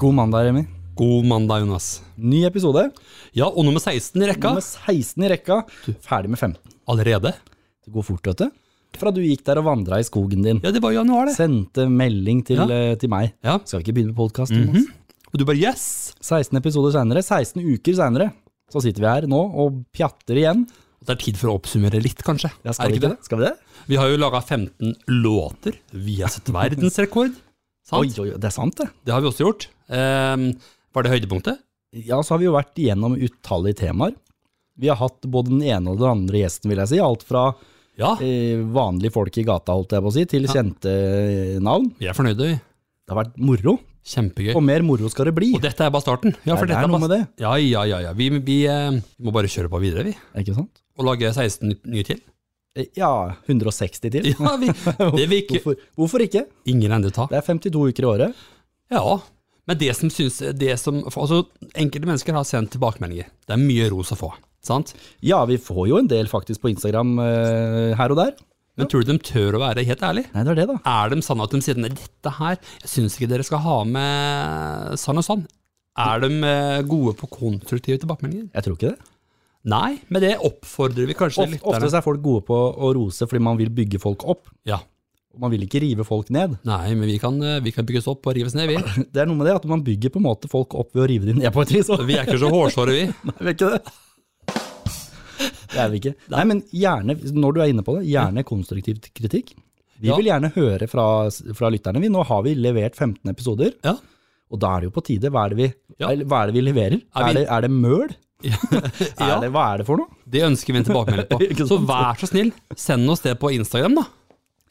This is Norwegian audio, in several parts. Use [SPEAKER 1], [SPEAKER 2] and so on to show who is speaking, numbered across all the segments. [SPEAKER 1] God mandag, Remi.
[SPEAKER 2] God mandag, Jonas.
[SPEAKER 1] Ny episode.
[SPEAKER 2] Ja, og nummer 16 i rekka.
[SPEAKER 1] Nummer 16 i rekka. Ferdig med 15.
[SPEAKER 2] Allerede?
[SPEAKER 1] Det går fort, vet du. Fra du gikk der og vandra i skogen din.
[SPEAKER 2] Ja, det var i januar, det.
[SPEAKER 1] Sendte melding til,
[SPEAKER 2] Ja.
[SPEAKER 1] eh, til meg.
[SPEAKER 2] Ja. Mhm.
[SPEAKER 1] Skal ikke begynne med podkast, Thomas.
[SPEAKER 2] Og du bare yes!
[SPEAKER 1] 16 episoder seinere, 16 uker seinere, så sitter vi her nå og pjatter igjen.
[SPEAKER 2] Det er tid for å oppsummere litt, kanskje.
[SPEAKER 1] Ja,
[SPEAKER 2] er
[SPEAKER 1] skal, vi
[SPEAKER 2] det ikke
[SPEAKER 1] ikke det? skal vi det?
[SPEAKER 2] det? Vi har jo laga 15 låter. Vi har satt verdensrekord.
[SPEAKER 1] Oi,
[SPEAKER 2] Sant?
[SPEAKER 1] oi, oi, det er sant, det.
[SPEAKER 2] Det har vi også gjort. Ehm, var det høydepunktet?
[SPEAKER 1] Ja, så har vi jo vært igjennom utallige temaer. Vi har hatt både den ene og den andre gjesten, vil jeg si. Alt fra
[SPEAKER 2] Ja.
[SPEAKER 1] eh, vanlige folk i gata, holdt jeg på å si, til kjente eh, navn.
[SPEAKER 2] Vi er fornøyde. vi.
[SPEAKER 1] Det har vært moro,
[SPEAKER 2] Kjempegøy.
[SPEAKER 1] og mer moro skal det bli.
[SPEAKER 2] Eh, Og dette er bare starten. Ja,
[SPEAKER 1] det er
[SPEAKER 2] dette
[SPEAKER 1] noe
[SPEAKER 2] bare-
[SPEAKER 1] med det.
[SPEAKER 2] Ja, ja, ja. ja. Vi, vi, eh, vi må bare kjøre på videre, vi.
[SPEAKER 1] Ikke sant?
[SPEAKER 2] Og lage 16 ny- nye til.
[SPEAKER 1] Eh, Ja, 160 til.
[SPEAKER 2] Ja, vi, det vil ikke
[SPEAKER 1] Hvorfor, hvorfor ikke?
[SPEAKER 2] ingen ende ta.
[SPEAKER 1] Det er 52 uker i året.
[SPEAKER 2] Ja, men det som synes, det som, for, altså, enkelte mennesker har sendt tilbakemeldinger. Det er mye ros å få, sant?
[SPEAKER 1] Ja, vi får jo en del faktisk på Instagram eh, her og der.
[SPEAKER 2] Men tror du de tør å være helt ærlig?
[SPEAKER 1] Nei, det er det, da.
[SPEAKER 2] Er de sånn at de sier nei, dette her, jeg synes ikke dere skal ha med sånn og sånn? Er de eh, gode på konstruktive tilbakemeldinger?
[SPEAKER 1] Jeg tror ikke det.
[SPEAKER 2] Nei, men det oppfordrer vi kanskje
[SPEAKER 1] Of, ofte
[SPEAKER 2] lytterne.
[SPEAKER 1] så er folk gode på å rose fordi man vil bygge folk opp.
[SPEAKER 2] Ja.
[SPEAKER 1] Og man vil ikke rive folk ned.
[SPEAKER 2] Nei, men vi kan, eh, vi kan bygges opp og rives ned, vi.
[SPEAKER 1] Det er noe med det at man bygger på en måte folk opp ved å rive dem ned på et vis. og-
[SPEAKER 2] Vi er ikke så hårsåre, vi.
[SPEAKER 1] Nei, vi er ikke det. Det er vi ikke. Nei, men gjerne, når du er inne på det, gjerne konstruktiv kritikk. Vi
[SPEAKER 2] Ja.
[SPEAKER 1] vil gjerne høre fra, fra lytterne. vi. Nå har vi levert 15 episoder,
[SPEAKER 2] Ja.
[SPEAKER 1] og da er det jo på tide. Hva er det vi,
[SPEAKER 2] Ja.
[SPEAKER 1] eller hva er det vi leverer? Er,
[SPEAKER 2] Er vi-
[SPEAKER 1] det, er det møl?
[SPEAKER 2] Ja.
[SPEAKER 1] Er det, hva er det for noe?
[SPEAKER 2] Det ønsker vi en tilbakemelding
[SPEAKER 1] Ikke sant?
[SPEAKER 2] på. Så vær så snill, send oss det på Instagram, da.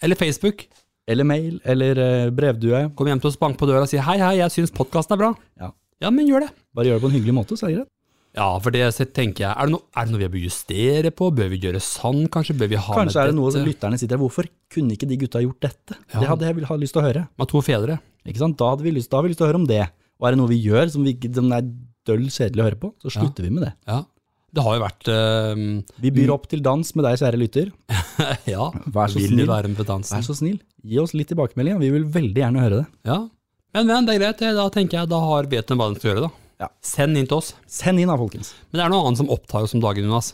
[SPEAKER 2] Eller Facebook.
[SPEAKER 1] Eller mail, eller eh, brevdue.
[SPEAKER 2] Kom hjem til oss, bank på døra og si hei, hei, jeg syns podkasten er bra.
[SPEAKER 1] Ja.
[SPEAKER 2] Ja, men gjør det.
[SPEAKER 1] Bare gjør det på en hyggelig måte, så er det greit.
[SPEAKER 2] Ja, for det så tenker jeg, er det, noe, er det noe vi bør justere på? Bør vi gjøre sånn, kanskje? Bør vi ha
[SPEAKER 1] Kanskje er det noe som
[SPEAKER 2] dette?
[SPEAKER 1] lytterne sitter her, Hvorfor kunne ikke de gutta gjort dette?
[SPEAKER 2] Ja.
[SPEAKER 1] Det hadde jeg vil- ha lyst til å høre.
[SPEAKER 2] Med to fedre.
[SPEAKER 1] Ikke sant? Da, hadde vi lyst, da har vi lyst til å høre om det. Og er det noe vi gjør som, vi, ikke- som er døll kjedelig å høre på, så slutter vi med det.
[SPEAKER 2] Ja. Det har jo vært eh,
[SPEAKER 1] Vi byr opp til dans med deg, kjære lytter.
[SPEAKER 2] Ja,
[SPEAKER 1] Vær så
[SPEAKER 2] vil
[SPEAKER 1] snill.
[SPEAKER 2] det være med på
[SPEAKER 1] Vær
[SPEAKER 2] dansen?
[SPEAKER 1] så snill, gi oss litt tilbakemelding. ja. Vi vil veldig gjerne høre det.
[SPEAKER 2] Ja. Men, men det er greit, det. da tenker jeg da har vet de hva de skal gjøre, da.
[SPEAKER 1] Ja.
[SPEAKER 2] Send inn til oss.
[SPEAKER 1] Send inn da, folkens.
[SPEAKER 2] Men det er noe annet som opptar oss om dagen, Jonas.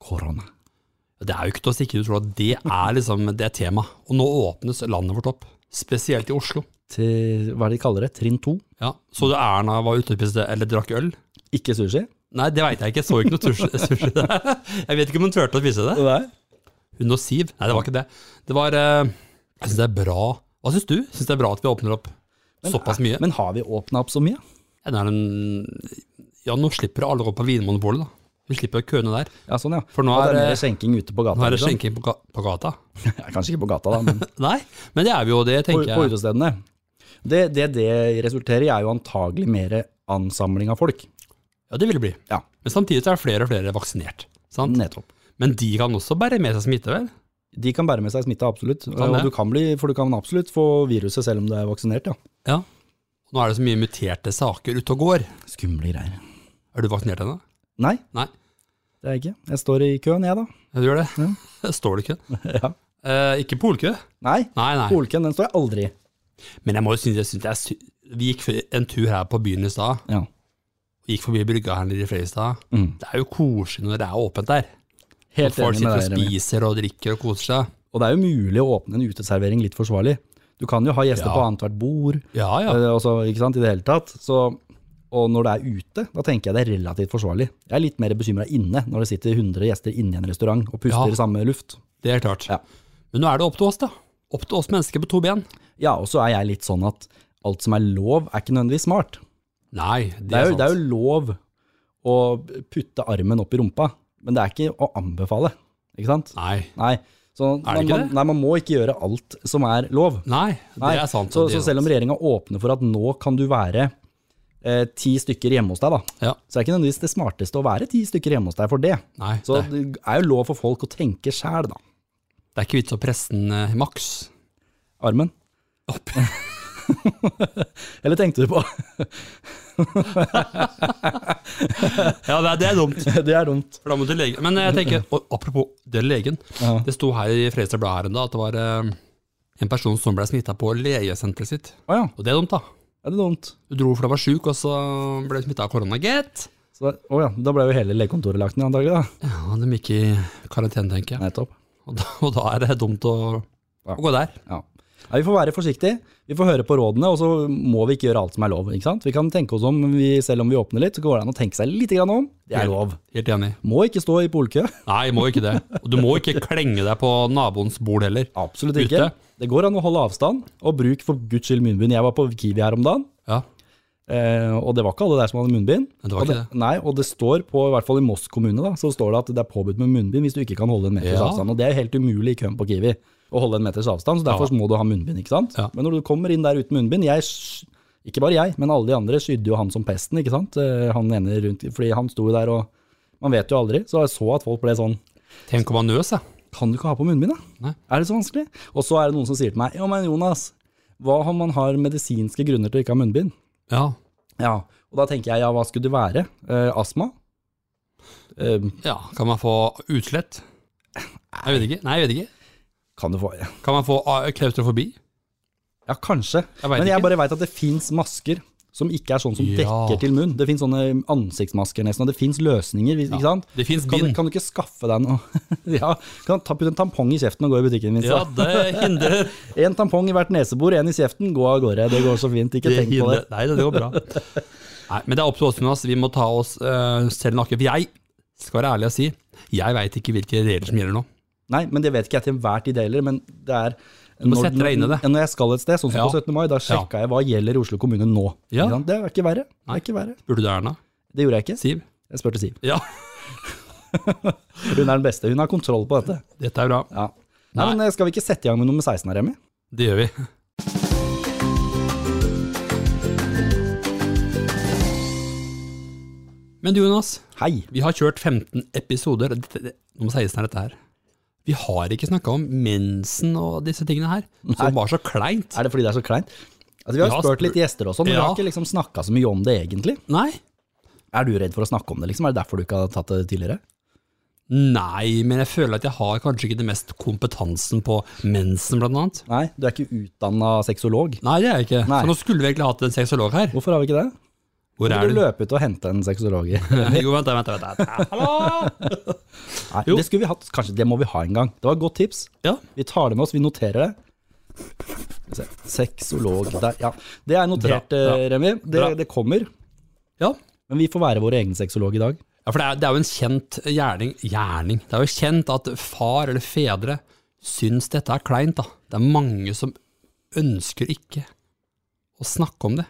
[SPEAKER 1] Korona.
[SPEAKER 2] Det er jo ikke til å stikke ut fra at det er liksom det er tema. Og nå åpnes landet vårt opp. Spesielt i Oslo.
[SPEAKER 1] Til, hva er det de kaller det? Trinn to?
[SPEAKER 2] Ja. Så du Erna var ute og spiste eller drakk øl?
[SPEAKER 1] Ikke sushi?
[SPEAKER 2] Nei, det veit jeg ikke. Jeg så ikke noe sushi- sushi der. Jeg vet ikke om hun turte å spise det.
[SPEAKER 1] Nei.
[SPEAKER 2] Hun og Siv. Nei, det var ikke det. Det var eh, Jeg syns det er bra. Hva syns du? Syns det er bra at vi åpner opp såpass mye?
[SPEAKER 1] Men har vi åpna opp så mye?
[SPEAKER 2] Ja, det er en, ja, nå slipper alle å gå på Vinmonopolet, da. Vi slipper køene der.
[SPEAKER 1] Ja, sånn ja.
[SPEAKER 2] For nå
[SPEAKER 1] Ja, det
[SPEAKER 2] er
[SPEAKER 1] er
[SPEAKER 2] det-
[SPEAKER 1] mer skjenking ute på gata.
[SPEAKER 2] Nå er det
[SPEAKER 1] liksom.
[SPEAKER 2] skjenking på, ga- på gata.
[SPEAKER 1] Ja, Kanskje ikke på gata, da, men
[SPEAKER 2] Nei, men det er vi jo, det
[SPEAKER 1] på,
[SPEAKER 2] tenker
[SPEAKER 1] på
[SPEAKER 2] jeg.
[SPEAKER 1] utestedene. Det, det det resulterer i, er jo antagelig mer ansamling av folk.
[SPEAKER 2] Ja, det vil det bli.
[SPEAKER 1] Ja. Mm.
[SPEAKER 2] Men samtidig så er flere og flere vaksinert. Sant?
[SPEAKER 1] Nettopp.
[SPEAKER 2] Men de kan også bære med seg smitte, vel?
[SPEAKER 1] De kan bære med seg smitte, absolutt.
[SPEAKER 2] det.
[SPEAKER 1] og du kan bli, for du kan absolutt få viruset selv om du er vaksinert, ja.
[SPEAKER 2] Ja. Nå er det så mye muterte saker ute og går.
[SPEAKER 1] Skumle greier.
[SPEAKER 2] Er du vaksinert ennå?
[SPEAKER 1] Nei,
[SPEAKER 2] Nei,
[SPEAKER 1] det er jeg ikke. Jeg står i køen, jeg, da.
[SPEAKER 2] du gjør det. Står det ikke?
[SPEAKER 1] Ja.
[SPEAKER 2] Eh, ikke polkø?
[SPEAKER 1] Nei,
[SPEAKER 2] Nei, nei.
[SPEAKER 1] polkøen den står jeg aldri i.
[SPEAKER 2] Men jeg må jo synes, jeg synes det er sy- Vi gikk f- en tur her på byen i stad.
[SPEAKER 1] Ja.
[SPEAKER 2] Vi Gikk forbi brygga her nede i Fredrikstad.
[SPEAKER 1] Mm.
[SPEAKER 2] Det er jo koselig når det er åpent der. Og
[SPEAKER 1] Helt
[SPEAKER 2] folk
[SPEAKER 1] enig
[SPEAKER 2] sitter
[SPEAKER 1] med
[SPEAKER 2] og
[SPEAKER 1] deg. Remi.
[SPEAKER 2] spiser og drikker og koser seg.
[SPEAKER 1] Og det er jo mulig å åpne en uteservering litt forsvarlig. Du kan jo ha gjester
[SPEAKER 2] Ja.
[SPEAKER 1] på annethvert bord,
[SPEAKER 2] Ja, ja.
[SPEAKER 1] eh, og så, ikke sant, i det hele tatt. Så, og når det er ute, da tenker jeg det er relativt forsvarlig. Jeg er litt mer bekymra inne, når det sitter 100 gjester inne i en restaurant og puster
[SPEAKER 2] Ja.
[SPEAKER 1] samme luft.
[SPEAKER 2] Det er klart.
[SPEAKER 1] Ja.
[SPEAKER 2] Men nå er det opp til oss, da. Opp til oss mennesker på to ben.
[SPEAKER 1] Ja, og så er jeg litt sånn at alt som er lov, er ikke nødvendigvis smart.
[SPEAKER 2] Nei, det,
[SPEAKER 1] Det er, jo,
[SPEAKER 2] er sant.
[SPEAKER 1] det er jo lov å putte armen opp i rumpa, men det er ikke å anbefale. Ikke sant?
[SPEAKER 2] Nei.
[SPEAKER 1] Nei. Så
[SPEAKER 2] Er det
[SPEAKER 1] man,
[SPEAKER 2] ikke
[SPEAKER 1] man,
[SPEAKER 2] det?
[SPEAKER 1] nei, man må ikke gjøre alt som er lov.
[SPEAKER 2] Nei,
[SPEAKER 1] Nei.
[SPEAKER 2] det er sant.
[SPEAKER 1] Så,
[SPEAKER 2] det
[SPEAKER 1] så
[SPEAKER 2] er
[SPEAKER 1] selv om
[SPEAKER 2] sant.
[SPEAKER 1] regjeringa åpner for at nå kan du være eh, ti stykker hjemme hos deg, da,
[SPEAKER 2] Ja,
[SPEAKER 1] så er det ikke nødvendigvis det smarteste å være ti stykker hjemme hos deg for det.
[SPEAKER 2] nei.
[SPEAKER 1] Så
[SPEAKER 2] det,
[SPEAKER 1] det er jo lov for folk å tenke sjæl, da.
[SPEAKER 2] det er ikke vits å presse den eh, maks.
[SPEAKER 1] Armen.
[SPEAKER 2] Opp.
[SPEAKER 1] Eller tenkte du på
[SPEAKER 2] Ja, det er, det er dumt.
[SPEAKER 1] Det er dumt.
[SPEAKER 2] For da må du til legen. Men jeg tenker, og apropos det legen,
[SPEAKER 1] Ja.
[SPEAKER 2] det sto her i Fredrikstad Blad her en dag at det var eh, en person som ble smitta på legesenteret sitt.
[SPEAKER 1] Å ja.
[SPEAKER 2] Og det er dumt, da.
[SPEAKER 1] Er det dumt?
[SPEAKER 2] Du dro fordi du var sjuk, og så ble du smitta av korona, gitt.
[SPEAKER 1] Så, da- å ja, da ble jo hele legekontoret lagt ned antagelig, da.
[SPEAKER 2] Ja, de gikk i karantene, tenker jeg.
[SPEAKER 1] Nettopp.
[SPEAKER 2] Og da, og da er det dumt å,
[SPEAKER 1] Ja.
[SPEAKER 2] å gå der.
[SPEAKER 1] Ja. Nei, vi får være forsiktige. Vi får høre på rådene, og så må vi ikke gjøre alt som er lov. ikke sant? Vi kan tenke oss om, vi, selv om vi åpner litt, så går det an å tenke seg litt grann om. Det er lov.
[SPEAKER 2] Helt enig.
[SPEAKER 1] Må ikke stå i polkø.
[SPEAKER 2] Nei, må ikke det. Og du må ikke klenge deg på naboens bord heller.
[SPEAKER 1] Absolutt ikke.
[SPEAKER 2] Ute.
[SPEAKER 1] Det går an å holde avstand, og bruk for guds skyld munnbind. Jeg var på Kiwi her om dagen,
[SPEAKER 2] Ja,
[SPEAKER 1] eh, og det var ikke alle der som hadde munnbind.
[SPEAKER 2] Men det var
[SPEAKER 1] og
[SPEAKER 2] ikke det.
[SPEAKER 1] Nei, og det står på, i hvert fall i Moss kommune, da, så står det at det er påbudt med munnbind hvis du ikke kan holde en meters
[SPEAKER 2] Ja.
[SPEAKER 1] avstand. Og det er helt umulig i køen på Kiwi å holde en meters avstand, så derfor må du ha munnbind. ikke sant?
[SPEAKER 2] Ja.
[SPEAKER 1] Men når du kommer inn der uten munnbind jeg, sk- Ikke bare jeg, men alle de andre skydde jo han som pesten, ikke sant? Eh, Han ene rundt, fordi han sto jo der og Man vet jo aldri. Så jeg så at folk ble sånn
[SPEAKER 2] tenk om han nøs, ja.
[SPEAKER 1] kan du ikke ha på munnbind, da?
[SPEAKER 2] Nei.
[SPEAKER 1] Er det så vanskelig? Og så er det noen som sier til meg, ja, men Jonas, hva om man har medisinske grunner til å ikke ha munnbind?
[SPEAKER 2] Ja,
[SPEAKER 1] Ja, og da tenker jeg, ja, hva skulle det være? Eh, astma? Eh,
[SPEAKER 2] ja. Kan man få utslett? Jeg vet ikke. Nei, jeg vet ikke.
[SPEAKER 1] kan du få
[SPEAKER 2] Kan man få ah, klaustrofobi?
[SPEAKER 1] Ja, kanskje.
[SPEAKER 2] Jeg vet
[SPEAKER 1] men jeg
[SPEAKER 2] ikke.
[SPEAKER 1] bare veit at det fins masker som ikke er sånn som
[SPEAKER 2] Ja.
[SPEAKER 1] dekker til munn. Det fins sånne ansiktsmasker nesten, og det fins løsninger, hvis- ikke sant?
[SPEAKER 2] Det fins
[SPEAKER 1] Kan,
[SPEAKER 2] bind.
[SPEAKER 1] du- kan du ikke skaffe deg noe? ja, kan du ta putte en tampong i kjeften og gå i butikken minst?
[SPEAKER 2] Ja,
[SPEAKER 1] da?
[SPEAKER 2] det hindrer.
[SPEAKER 1] En tampong i hvert nesebor, en i kjeften, gå av gårde. Det går så fint, ikke tenk på det.
[SPEAKER 2] hindrer. Nei, det går bra. Nei, men det er opp til oss, Jonas. Vi må ta oss eh, selv nakke. For jeg skal være ærlig og si, jeg veit ikke hvilke regler som gjelder nå.
[SPEAKER 1] Nei, men det vet ikke jeg til enhver tid heller, men det er
[SPEAKER 2] må sette deg inn i det.
[SPEAKER 1] Når jeg skal et sted, sånn som
[SPEAKER 2] Ja.
[SPEAKER 1] på 17. mai, da sjekka jeg hva gjelder Oslo kommune nå.
[SPEAKER 2] Ja.
[SPEAKER 1] Ikke sant? Det er ikke verre. Det er ikke verre.
[SPEAKER 2] Burde du Erna?
[SPEAKER 1] Det gjorde jeg ikke.
[SPEAKER 2] Siv?
[SPEAKER 1] Jeg spurte Siv.
[SPEAKER 2] Ja,
[SPEAKER 1] Hun er den beste. Hun har kontroll på dette.
[SPEAKER 2] dette er bra.
[SPEAKER 1] Ja. Nei,
[SPEAKER 2] Nei.
[SPEAKER 1] men eh, Skal vi ikke sette i gang med nummer 16 her, Remi?
[SPEAKER 2] Det gjør vi. Men du, Jonas.
[SPEAKER 1] Hei.
[SPEAKER 2] Vi har kjørt 15 episoder. og Dette, det, nummer 16 er dette her. Vi har ikke snakka om mensen og disse tingene her, som var så kleint.
[SPEAKER 1] Er det fordi det er så kleint? Altså, vi har
[SPEAKER 2] Ja,
[SPEAKER 1] spurt litt gjester og sånn, men vi
[SPEAKER 2] Ja.
[SPEAKER 1] har ikke liksom snakka så mye om det egentlig.
[SPEAKER 2] Nei.
[SPEAKER 1] Er du redd for å snakke om det, liksom? Er det derfor du ikke har tatt det tidligere?
[SPEAKER 2] Nei, men jeg føler at jeg har kanskje ikke det mest kompetansen på mensen, blant annet.
[SPEAKER 1] Nei, du er ikke utdanna sexolog.
[SPEAKER 2] Nei, det er jeg ikke.
[SPEAKER 1] Nei.
[SPEAKER 2] Så nå skulle vi egentlig hatt en sexolog her.
[SPEAKER 1] Hvorfor har vi ikke det?
[SPEAKER 2] Hvor
[SPEAKER 1] Du
[SPEAKER 2] er du?
[SPEAKER 1] løpe ut og hente en sexolog. i-
[SPEAKER 2] Jo, vent, vent, vent. vent. Hallo!
[SPEAKER 1] Nei,
[SPEAKER 2] Jo.
[SPEAKER 1] det skulle vi hatt. Kanskje det må vi ha en gang. Det var et godt tips.
[SPEAKER 2] Ja.
[SPEAKER 1] Vi tar det med oss, vi noterer det. Skal vi se. Sexolog der, ja. Det er notert,
[SPEAKER 2] Bra, bra.
[SPEAKER 1] eh, Remi. Det,
[SPEAKER 2] Bra.
[SPEAKER 1] det kommer.
[SPEAKER 2] ja.
[SPEAKER 1] Men vi får være våre egne sexolog i dag.
[SPEAKER 2] Ja, for det er, det er jo en kjent gjerning, gjerning. Det er jo kjent at far eller fedre syns dette er kleint. da. Det er mange som ønsker ikke å snakke om det.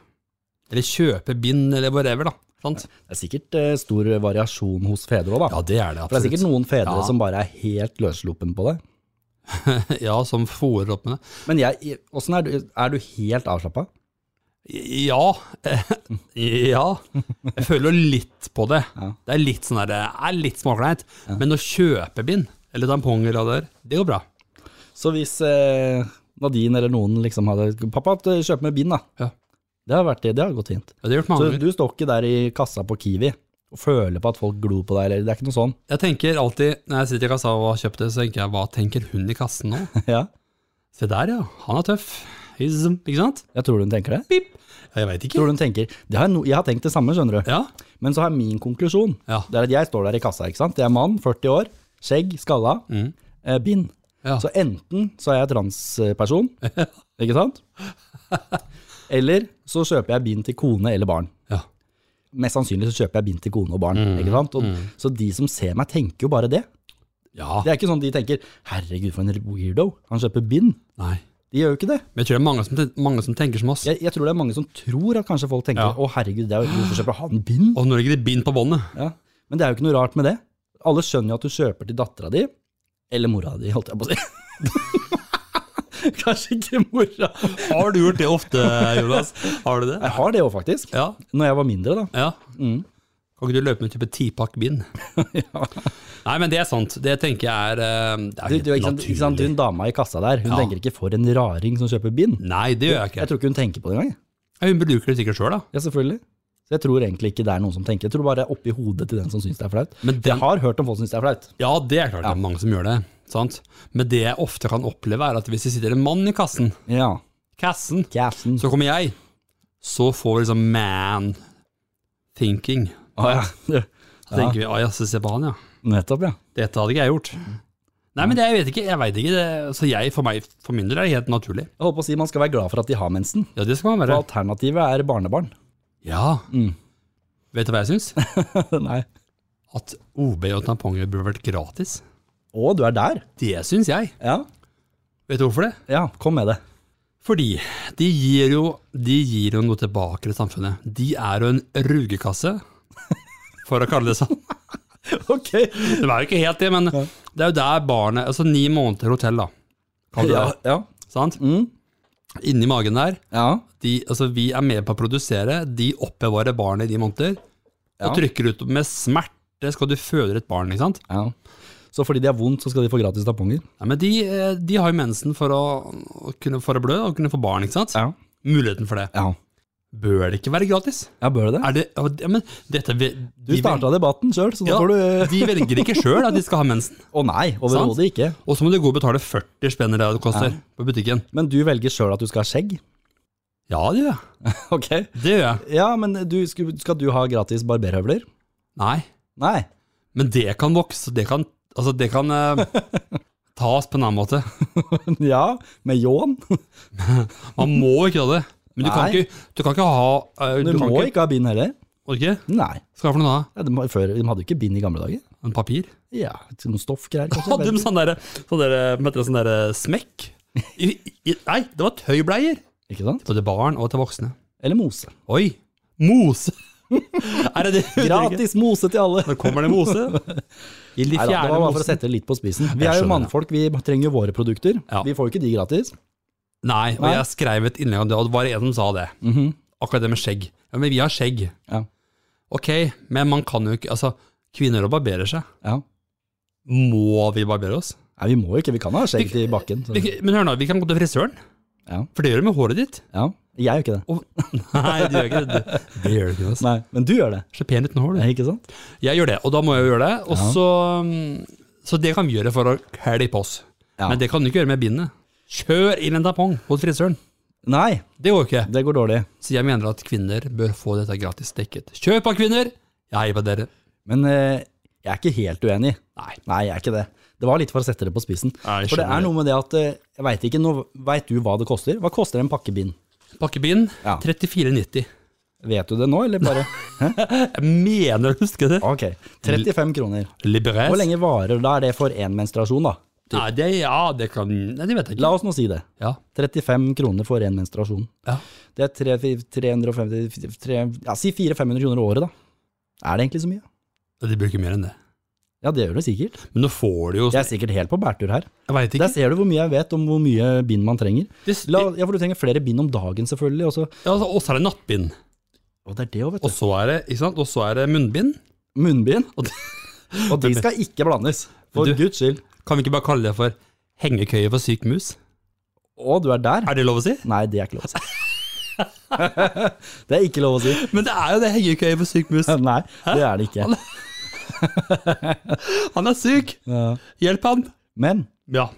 [SPEAKER 2] Eller kjøpe bind eller whatever. da. Sant?
[SPEAKER 1] Det er sikkert eh, stor variasjon hos fedre òg, da.
[SPEAKER 2] Ja, det er
[SPEAKER 1] For
[SPEAKER 2] det
[SPEAKER 1] det er
[SPEAKER 2] absolutt.
[SPEAKER 1] sikkert noen fedre
[SPEAKER 2] Ja.
[SPEAKER 1] som bare er helt løssluppen på det.
[SPEAKER 2] Ja, Som fòrer opp med det.
[SPEAKER 1] Men jeg, åssen er, du- er du helt avslappa?
[SPEAKER 2] Ja. ja. Jeg føler jo litt på det.
[SPEAKER 1] Ja.
[SPEAKER 2] Det er litt sånn der, det er litt småkleint. Men å kjøpe bind eller tamponger og det der, det går bra.
[SPEAKER 1] Så hvis eh, Nadine eller noen liksom hadde 'Pappa, kjøp med bind', da.
[SPEAKER 2] Ja.
[SPEAKER 1] Det har vært det. Det har gått fint.
[SPEAKER 2] Ja, det har gjort mange
[SPEAKER 1] Så
[SPEAKER 2] ganger.
[SPEAKER 1] du står ikke der i kassa på Kiwi og føler på at folk glor på deg, eller det er ikke noe sånn?
[SPEAKER 2] Jeg tenker alltid, når jeg sitter i kassa og har kjøpt det, så tenker jeg, hva tenker hun i kassen nå?
[SPEAKER 1] Ja,
[SPEAKER 2] Se der, ja. Han er tøff. He's, ikke sant?
[SPEAKER 1] jeg tror hun tenker det.
[SPEAKER 2] Pip. Ja, Jeg veit ikke.
[SPEAKER 1] Tror du hun tenker, det har jeg, no, jeg har tenkt det samme, skjønner du.
[SPEAKER 2] Ja.
[SPEAKER 1] Men så har jeg min konklusjon.
[SPEAKER 2] Ja.
[SPEAKER 1] Det er at jeg står der i kassa, ikke sant. Jeg er mann, 40 år, skjegg, skalla, eh, bind.
[SPEAKER 2] Ja.
[SPEAKER 1] Så enten så er jeg transperson, ikke sant? Eller så kjøper jeg bind til kone eller barn.
[SPEAKER 2] ja.
[SPEAKER 1] Mest sannsynlig så kjøper jeg bind til kone og barn. ikke sant? Og, Så de som ser meg, tenker jo bare det.
[SPEAKER 2] Ja.
[SPEAKER 1] Det er ikke sånn de tenker 'herregud, for en weirdo', han kjøper bind.
[SPEAKER 2] Nei.
[SPEAKER 1] De gjør jo ikke det.
[SPEAKER 2] Men jeg tror det er mange som, ten- mange som tenker som oss.
[SPEAKER 1] Jeg, jeg tror det er mange som tror at kanskje folk tenker
[SPEAKER 2] Ja.
[SPEAKER 1] å herregud, det er jo, hvorfor kjøper han bind?
[SPEAKER 2] Og nå ligger det bind på båndet.
[SPEAKER 1] Ja. Men det er jo ikke noe rart med det. Alle skjønner jo at du kjøper til dattera di, eller mora di, holdt jeg på å si. kanskje ikke mora.
[SPEAKER 2] Har du gjort det ofte, Jonas? Har du det?
[SPEAKER 1] Jeg har det òg, faktisk.
[SPEAKER 2] Ja.
[SPEAKER 1] Når jeg var mindre, da.
[SPEAKER 2] ja.
[SPEAKER 1] Mm.
[SPEAKER 2] Kan ikke du løpe ned og kjøpe tipakk bind? Nei, men det er sant. Det tenker jeg er eh, Det er
[SPEAKER 1] Du,
[SPEAKER 2] helt
[SPEAKER 1] du, ikke sant, ikke sant,
[SPEAKER 2] naturlig.
[SPEAKER 1] Hun dama i kassa der, hun
[SPEAKER 2] Ja.
[SPEAKER 1] tenker ikke 'for en raring som kjøper bind'.
[SPEAKER 2] Nei, det gjør jeg ikke.
[SPEAKER 1] Jeg tror ikke hun tenker på det engang. jeg.
[SPEAKER 2] Ja, Hun bruker det sikkert sjøl, da.
[SPEAKER 1] Ja, selvfølgelig. Så jeg tror egentlig ikke det er noen som tenker. Jeg tror bare det er oppi hodet til den som syns det er flaut.
[SPEAKER 2] Men
[SPEAKER 1] Jeg
[SPEAKER 2] den
[SPEAKER 1] har hørt om folk som syns det er flaut.
[SPEAKER 2] Ja, det er klart det er mange som gjør det. Sant? Men det jeg ofte kan oppleve, er at hvis det sitter en mann i kassen,
[SPEAKER 1] Ja.
[SPEAKER 2] kassen
[SPEAKER 1] Kjæresten.
[SPEAKER 2] så kommer jeg, så får vi liksom man-thinking.
[SPEAKER 1] Å ja. ja.
[SPEAKER 2] Så tenker vi «Å, jaså, se på han, ja.
[SPEAKER 1] Nettopp, ja.
[SPEAKER 2] Dette hadde ikke jeg gjort.
[SPEAKER 1] Mm.
[SPEAKER 2] Nei, men det, jeg vet ikke. jeg vet ikke. Det, så jeg, for, meg, for min del er det helt naturlig.
[SPEAKER 1] Jeg holdt på å si man skal være glad for at de har mensen.
[SPEAKER 2] Ja, det skal man
[SPEAKER 1] For
[SPEAKER 2] være.
[SPEAKER 1] alternativet er barnebarn.
[SPEAKER 2] Ja.
[SPEAKER 1] Mm.
[SPEAKER 2] Vet du hva jeg syns?
[SPEAKER 1] Nei.
[SPEAKER 2] At OB og tamponger burde vært gratis.
[SPEAKER 1] Å, du er der?
[SPEAKER 2] Det syns jeg.
[SPEAKER 1] Ja.
[SPEAKER 2] Vet du hvorfor det?
[SPEAKER 1] ja, kom med det.
[SPEAKER 2] Fordi de gir jo, de gir jo noe tilbake til samfunnet. De er jo en rugekasse, for å kalle det sånn.
[SPEAKER 1] Ok.
[SPEAKER 2] Det var jo ikke helt det, men det er jo der barnet Altså ni måneder hotell, da. Kan du
[SPEAKER 1] Ja,
[SPEAKER 2] det?
[SPEAKER 1] ja.
[SPEAKER 2] Sant?
[SPEAKER 1] Mm.
[SPEAKER 2] Inni magen der.
[SPEAKER 1] ja.
[SPEAKER 2] De, altså, vi er med på å produsere. De oppbevarer barnet i ni måneder.
[SPEAKER 1] Ja.
[SPEAKER 2] Og trykker ut med smerte skal du føde et barn. ikke sant?
[SPEAKER 1] ja. Så fordi de har vondt, så skal de få gratis tamponger?
[SPEAKER 2] Nei, men de, eh, de har jo mensen for å, å kunne for å blø og kunne få barn. ikke sant?
[SPEAKER 1] Ja.
[SPEAKER 2] Muligheten for det.
[SPEAKER 1] Ja,
[SPEAKER 2] Bør det ikke være gratis?
[SPEAKER 1] ja bør det det?
[SPEAKER 2] Er det, ja, men dette, vi-
[SPEAKER 1] Du
[SPEAKER 2] de,
[SPEAKER 1] starta debatten sjøl, så nå
[SPEAKER 2] Ja.
[SPEAKER 1] får du eh,
[SPEAKER 2] de velger ikke sjøl at de skal ha mensen.
[SPEAKER 1] Å nei, overhodet ikke.
[SPEAKER 2] Og så må du gå og betale 40 spenn eller hva det koster på butikken.
[SPEAKER 1] Men du velger sjøl at du skal ha skjegg?
[SPEAKER 2] Ja, det gjør jeg.
[SPEAKER 1] Ok.
[SPEAKER 2] Det gjør jeg.
[SPEAKER 1] Ja, men du, skal skal du ha gratis barberhøvler?
[SPEAKER 2] Nei.
[SPEAKER 1] Nei.
[SPEAKER 2] Men det kan vokse. Det kan, altså, det kan eh, tas på en annen måte.
[SPEAKER 1] Ja, med ljåen?
[SPEAKER 2] Man må ikke ha det. Men du kan
[SPEAKER 1] Nei.
[SPEAKER 2] ikke, du kan ikke ha eh,
[SPEAKER 1] Du
[SPEAKER 2] kan
[SPEAKER 1] må ikke ha bind heller.
[SPEAKER 2] Orker?
[SPEAKER 1] Nei.
[SPEAKER 2] Skal jeg ha for noe da?
[SPEAKER 1] Ja, de, har- før, de hadde jo ikke bind i gamle dager.
[SPEAKER 2] En papir?
[SPEAKER 1] Ja, noen stoffgreier kanskje.
[SPEAKER 2] Hadde
[SPEAKER 1] vet
[SPEAKER 2] de sånn derre sånn der, hva heter det, sånn der smekk? I, i, nei, det var tøybleier.
[SPEAKER 1] ikke. Ikke sant?
[SPEAKER 2] Både barn og til voksne.
[SPEAKER 1] Eller mose.
[SPEAKER 2] Oi! Mose! er det det?
[SPEAKER 1] Gratis mose til alle!
[SPEAKER 2] Nå kommer det mose. Gild i
[SPEAKER 1] Neida, det
[SPEAKER 2] fjerde
[SPEAKER 1] var bare for å
[SPEAKER 2] mosen.
[SPEAKER 1] sette det litt på spissen. Vi er
[SPEAKER 2] Jeg
[SPEAKER 1] jo
[SPEAKER 2] skjønner det.
[SPEAKER 1] mannfolk, vi trenger jo våre produkter.
[SPEAKER 2] Ja.
[SPEAKER 1] Vi får jo ikke de gratis.
[SPEAKER 2] Nei, og
[SPEAKER 1] Nei. Mhm.
[SPEAKER 2] jeg skrev et innlegg om det, og det var en som sa det. Akkurat det med skjegg. Ja, men vi har skjegg.
[SPEAKER 1] Ja.
[SPEAKER 2] Ok, men man kan jo ikke Altså, kvinner og barberer seg.
[SPEAKER 1] Ja.
[SPEAKER 2] Må vi barbere oss?
[SPEAKER 1] Nei, vi må jo ikke, vi kan ha skjegg til bakken. Så.
[SPEAKER 2] Vi, men hør nå, vi kan gå til frisøren.
[SPEAKER 1] Ja.
[SPEAKER 2] For det gjør du med håret ditt.
[SPEAKER 1] Ja, jeg gjør ikke det.
[SPEAKER 2] Og, nei, det gjør ikke det. Det gjør du ikke. Altså.
[SPEAKER 1] Nei, men du gjør det.
[SPEAKER 2] Så pen uten hår, du.
[SPEAKER 1] Nei, Ikke sant?
[SPEAKER 2] Jeg gjør det, og da må jeg jo gjøre det. Og så, mm, så det kan vi gjøre for å klippe oss.
[SPEAKER 1] Ja.
[SPEAKER 2] Men det kan du ikke gjøre med bindet. Kjør inn en tampong hos frisøren.
[SPEAKER 1] Nei,
[SPEAKER 2] Det går jo ikke.
[SPEAKER 1] det går dårlig.
[SPEAKER 2] Så jeg mener at kvinner bør få dette gratis dekket. Kjøp av kvinner! Jeg heier på dere.
[SPEAKER 1] Men eh, jeg er ikke helt uenig.
[SPEAKER 2] Nei.
[SPEAKER 1] Nei, jeg er ikke det. Det var litt for å sette det på spissen.
[SPEAKER 2] Nei, jeg
[SPEAKER 1] for det
[SPEAKER 2] skjønner
[SPEAKER 1] er
[SPEAKER 2] det.
[SPEAKER 1] noe med det at eh, jeg veit ikke, nå veit du hva det koster? Hva koster en pakke bind?
[SPEAKER 2] Pakkebind
[SPEAKER 1] Ja.
[SPEAKER 2] 34,90.
[SPEAKER 1] Vet du det nå, eller bare
[SPEAKER 2] Jeg mener å huske det.
[SPEAKER 1] Ok, 35 kroner.
[SPEAKER 2] Liberes.
[SPEAKER 1] Hvor lenge varer Da er det for én menstruasjon, da.
[SPEAKER 2] Nei, det, ja, det kan Nei, det vet jeg ikke.
[SPEAKER 1] La oss nå si det.
[SPEAKER 2] Ja.
[SPEAKER 1] 35 kroner for én menstruasjon.
[SPEAKER 2] Ja.
[SPEAKER 1] Det er tre- 350 tre, Ja, si 400-500 kroner året, da. Er det egentlig så mye?
[SPEAKER 2] De bruker mer enn det.
[SPEAKER 1] Ja, det gjør det sikkert.
[SPEAKER 2] Men nå får du jo
[SPEAKER 1] Jeg er sikkert helt på bærtur her.
[SPEAKER 2] Jeg veit Altså, ikke.
[SPEAKER 1] Der ser du hvor mye jeg vet om hvor mye bind man trenger.
[SPEAKER 2] Det,
[SPEAKER 1] La, ja, for du trenger flere bind om dagen, selvfølgelig. Og, så,
[SPEAKER 2] ja, altså, og så er det nattbind.
[SPEAKER 1] og det er det òg, vet
[SPEAKER 2] Og
[SPEAKER 1] du.
[SPEAKER 2] så er det, ikke sant? Og så er det munnbind.
[SPEAKER 1] Munnbind.
[SPEAKER 2] Og
[SPEAKER 1] Og de skal ikke blandes. For
[SPEAKER 2] Du-
[SPEAKER 1] guds skyld.
[SPEAKER 2] Kan vi ikke bare kalle det for hengekøye for syk mus?
[SPEAKER 1] Å, du er der?
[SPEAKER 2] Er det lov å si?
[SPEAKER 1] Nei, det er ikke lov å si. det er ikke lov å si.
[SPEAKER 2] Men det er jo det hengekøye for syk mus.
[SPEAKER 1] Nei, det er det ikke.
[SPEAKER 2] Han er syk!
[SPEAKER 1] Ja.
[SPEAKER 2] Hjelp han!
[SPEAKER 1] Men
[SPEAKER 2] Ja.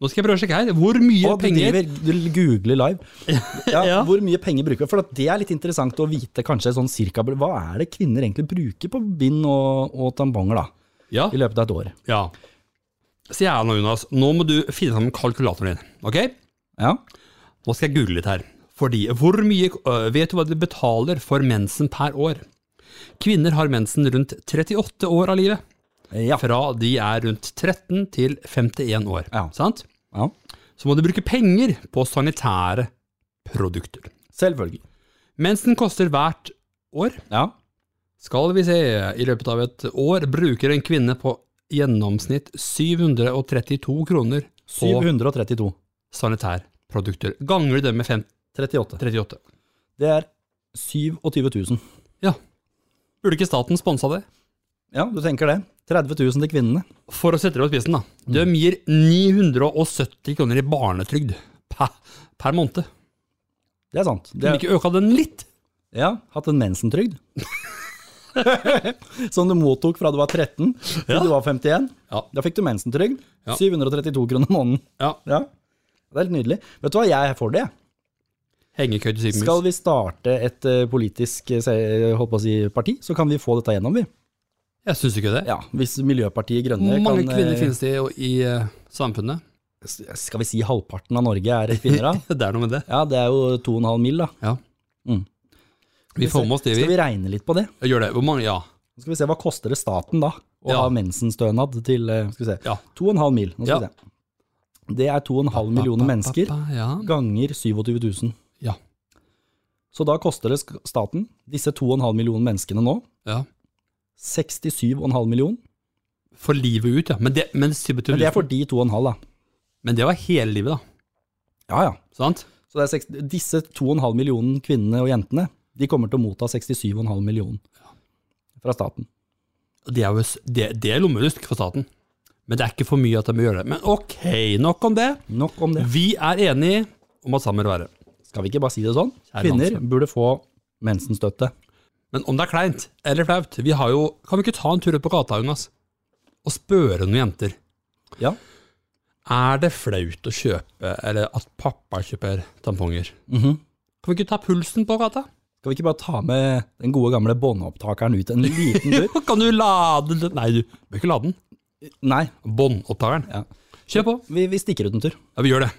[SPEAKER 2] Nå skal jeg prøve å sjekke her. Hvor mye
[SPEAKER 1] å, du,
[SPEAKER 2] penger
[SPEAKER 1] driver, du googler live. Ja,
[SPEAKER 2] Ja.
[SPEAKER 1] Hvor mye penger bruker vi? For at det er litt interessant å vite kanskje sånn cirka Hva er det kvinner egentlig bruker på bind og, og tamponger da,
[SPEAKER 2] Ja.
[SPEAKER 1] i løpet av et år?
[SPEAKER 2] ja. Så jeg er nå, Jonas. Nå må du finne sammen kalkulatoren din. Ok?
[SPEAKER 1] Ja,
[SPEAKER 2] Nå skal jeg google litt her. Fordi hvor mye øh, Vet du hva de betaler for mensen per år? Kvinner har mensen rundt 38 år av livet.
[SPEAKER 1] ja.
[SPEAKER 2] Fra de er rundt 13 til 51 år.
[SPEAKER 1] Ja.
[SPEAKER 2] Sant?
[SPEAKER 1] ja.
[SPEAKER 2] Så må du bruke penger på sanitære produkter.
[SPEAKER 1] Selvfølgelig.
[SPEAKER 2] Mensen koster hvert år.
[SPEAKER 1] Ja.
[SPEAKER 2] Skal vi se, i løpet av et år bruker en kvinne på gjennomsnitt 732 kroner på
[SPEAKER 1] 732.
[SPEAKER 2] sanitærprodukter. Ganger det med 5,
[SPEAKER 1] 38.
[SPEAKER 2] 38.
[SPEAKER 1] Det er 27 000.
[SPEAKER 2] Ja. Burde ikke staten sponsa det?
[SPEAKER 1] Ja, du tenker det. 30 000 til kvinnene.
[SPEAKER 2] For å sette det på spissen, da.
[SPEAKER 1] Mm.
[SPEAKER 2] De gir 970 kroner i barnetrygd per, per måned.
[SPEAKER 1] Det er sant. Det
[SPEAKER 2] Kunne
[SPEAKER 1] er,
[SPEAKER 2] ikke øka den litt?
[SPEAKER 1] ja, hatt en mensentrygd. Som du mottok fra du var 13 til
[SPEAKER 2] Ja.
[SPEAKER 1] du var 51.
[SPEAKER 2] Ja.
[SPEAKER 1] Da fikk du mensentrygd.
[SPEAKER 2] Ja.
[SPEAKER 1] 732 kroner i måneden.
[SPEAKER 2] Ja.
[SPEAKER 1] Ja. Det er helt nydelig. Vet du hva, jeg er for det. jeg.
[SPEAKER 2] Hengekøye til sykemus.
[SPEAKER 1] Skal vi starte et eh, politisk eh, se- holdt på å si, parti, så kan vi få dette gjennom, vi.
[SPEAKER 2] Jeg syns ikke det.
[SPEAKER 1] Ja, Hvis Miljøpartiet Grønne
[SPEAKER 2] Hvor mange
[SPEAKER 1] kan
[SPEAKER 2] kvinner
[SPEAKER 1] eh,
[SPEAKER 2] finnes det i, i eh, samfunnet?
[SPEAKER 1] s- Skal vi si halvparten av Norge er kvinner, da?
[SPEAKER 2] Det er noe med det.
[SPEAKER 1] Ja, det er jo 2,5 mil, da.
[SPEAKER 2] Vi får med oss det, vi.
[SPEAKER 1] Skal vi regne litt på det?
[SPEAKER 2] Gjør det. Hvor mange? Ja.
[SPEAKER 1] Så skal vi se, hva koster det staten da, å
[SPEAKER 2] Ja.
[SPEAKER 1] ha mensenstønad til, eh, skal vi se,
[SPEAKER 2] Ja.
[SPEAKER 1] 2,5 mil. Nå skal
[SPEAKER 2] Ja.
[SPEAKER 1] vi se. Det er 2,5 millioner mennesker
[SPEAKER 2] Ba, ba, ba, Ja.
[SPEAKER 1] ganger 27 000.
[SPEAKER 2] Ja.
[SPEAKER 1] Så da koster det sk- staten, disse 2,5 millioner menneskene nå,
[SPEAKER 2] ja.
[SPEAKER 1] 67,5 millioner.
[SPEAKER 2] For livet ut, ja. Men det,
[SPEAKER 1] Men
[SPEAKER 2] men,
[SPEAKER 1] det er for de 2,5 da.
[SPEAKER 2] men det var hele livet, da.
[SPEAKER 1] Ja, ja.
[SPEAKER 2] Sant?
[SPEAKER 1] Så det er seks- disse 2,5 millioner kvinnene og jentene, de kommer til å motta 67,5 millioner fra staten.
[SPEAKER 2] Og Det er, jo, s- det, det er lommerusk for staten. Men det er ikke for mye at de må gjøre det. Men ok, nok om det.
[SPEAKER 1] Nok om det.
[SPEAKER 2] Vi er enige om at sammen bør være.
[SPEAKER 1] Skal vi ikke bare si det sånn?
[SPEAKER 2] Kjære
[SPEAKER 1] Kvinner
[SPEAKER 2] landsmenn.
[SPEAKER 1] burde få mensenstøtte.
[SPEAKER 2] Men om det er kleint eller flaut, vi har jo Kan vi ikke ta en tur ut på gata, Jonas, og spørre noen jenter?
[SPEAKER 1] Ja.
[SPEAKER 2] Er det flaut å kjøpe, eller at pappa kjøper tamponger?
[SPEAKER 1] Mhm.
[SPEAKER 2] Kan vi ikke ta pulsen på gata?
[SPEAKER 1] Skal vi ikke bare ta med den gode gamle båndopptakeren ut en liten tur?
[SPEAKER 2] Jo, kan du lade den? Nei, du bør ikke lade den.
[SPEAKER 1] Nei,
[SPEAKER 2] Båndopptakeren.
[SPEAKER 1] Ja.
[SPEAKER 2] Kjør på.
[SPEAKER 1] vi, vi stikker ut en tur.
[SPEAKER 2] Ja, vi gjør det.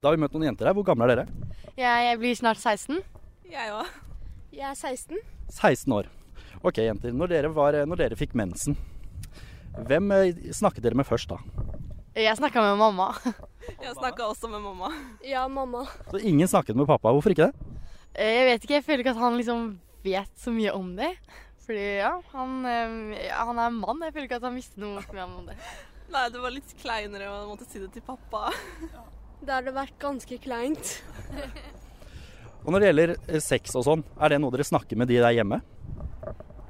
[SPEAKER 1] Da har vi møtt noen jenter her. Hvor gamle er dere?
[SPEAKER 3] Jeg blir snart 16.
[SPEAKER 4] Jeg òg.
[SPEAKER 3] Jeg er 16.
[SPEAKER 1] 16 år. Ok, jenter. Når dere, var, eh, når dere fikk mensen, hvem eh, snakket dere med først da?
[SPEAKER 3] Jeg snakka med mamma.
[SPEAKER 4] Jeg snakka også med mamma.
[SPEAKER 3] Ja, mamma.
[SPEAKER 1] Så ingen snakket med pappa. Hvorfor ikke det?
[SPEAKER 3] Eh, Jeg vet ikke, jeg føler ikke at han liksom vet så mye om det. Fordi ja, han, eh, ja, han er en mann. Jeg føler ikke at han visste noe så mye om det.
[SPEAKER 4] Nei, det var litt kleinere å måtte si det til pappa.
[SPEAKER 5] Det hadde vært ganske kleint.
[SPEAKER 1] Og når det gjelder eh, sex og sånn, er det noe dere snakker med de der hjemme?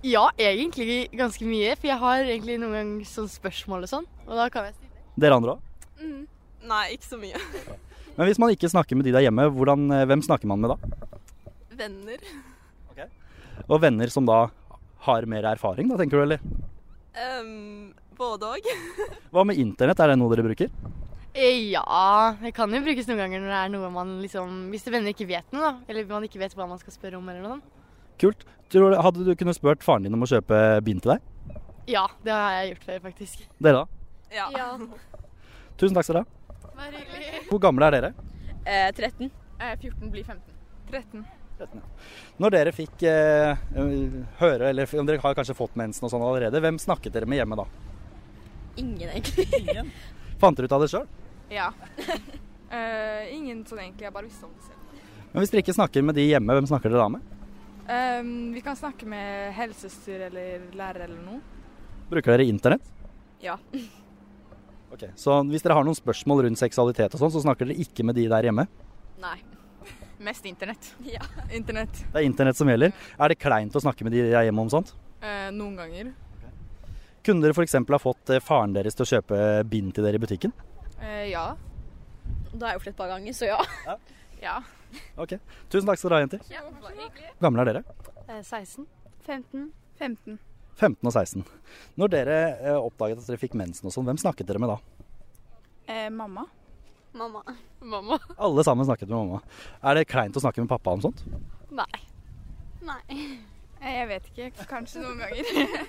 [SPEAKER 3] Ja, egentlig ganske mye. For jeg har egentlig noen ganger sånn spørsmål og sånn. Og da kan jeg si det.
[SPEAKER 1] Dere andre òg?
[SPEAKER 4] Nei, ikke så mye.
[SPEAKER 1] Men hvis man ikke snakker med de der hjemme, hvordan, eh, hvem snakker man med da?
[SPEAKER 4] Venner.
[SPEAKER 1] Og venner som da har mer erfaring, da, tenker du, eller?
[SPEAKER 4] Ehm, både òg.
[SPEAKER 1] Hva med internett, er det noe dere bruker?
[SPEAKER 3] Eh, Ja, det kan jo brukes noen ganger når det er noe man liksom Hvis venner ikke vet noe, da. Eller man ikke vet hva man skal spørre om eller noe sånt.
[SPEAKER 1] Kult. Tror, du- hadde du kunnet spurt faren din om å kjøpe bind til deg?
[SPEAKER 3] Ja, det har jeg gjort før, faktisk.
[SPEAKER 1] Dere da?
[SPEAKER 4] Ja.
[SPEAKER 5] Ja.
[SPEAKER 1] Tusen takk skal dere ha.
[SPEAKER 3] Bare hyggelig.
[SPEAKER 1] Hvor gamle er dere?
[SPEAKER 4] Eh,
[SPEAKER 5] 13.
[SPEAKER 4] 14 blir 15. 13.
[SPEAKER 1] Når dere fikk eh, høre, eller f- dere har kanskje fått mensen og sånn allerede, hvem snakket dere med hjemme da?
[SPEAKER 5] Ingen, egentlig.
[SPEAKER 1] Fant dere ut av det sjøl?
[SPEAKER 4] Ja. ingen sånn egentlig. Jeg bare visste om det selv.
[SPEAKER 1] Men hvis dere ikke snakker med de hjemme, hvem snakker dere da med?
[SPEAKER 4] vi kan snakke med helsesøster eller lærer eller noe.
[SPEAKER 1] Bruker dere internett?
[SPEAKER 4] Ja.
[SPEAKER 1] Ok, Så hvis dere har noen spørsmål rundt seksualitet og sånn, så snakker dere ikke med de der hjemme?
[SPEAKER 5] Nei.
[SPEAKER 4] Mest internett.
[SPEAKER 5] Ja.
[SPEAKER 4] Internett.
[SPEAKER 1] Det er internett som gjelder. Er det kleint å snakke med de der hjemme om sånt?
[SPEAKER 4] Eh, noen ganger.
[SPEAKER 1] Kunne dere f.eks. ha fått eh, faren deres til å kjøpe bind til dere i butikken?
[SPEAKER 4] ja.
[SPEAKER 5] Da har jeg gjort Eh, det et par ganger, så ja.
[SPEAKER 4] Ja.
[SPEAKER 1] Ok, Tusen takk skal dere ha, jenter. Hvor gamle er dere?
[SPEAKER 3] 16.
[SPEAKER 5] 15.
[SPEAKER 4] 15.
[SPEAKER 1] 15 og 16. Når dere eh, oppdaget at dere fikk mensen og sånn, hvem snakket dere med da?
[SPEAKER 4] Eh, mamma.
[SPEAKER 5] Mamma.
[SPEAKER 3] Mamma.
[SPEAKER 1] Alle sammen snakket med mamma. Er det kleint å snakke med pappa om sånt?
[SPEAKER 3] Nei.
[SPEAKER 5] Nei.
[SPEAKER 4] Eh, Jeg vet ikke. Kanskje noen ganger.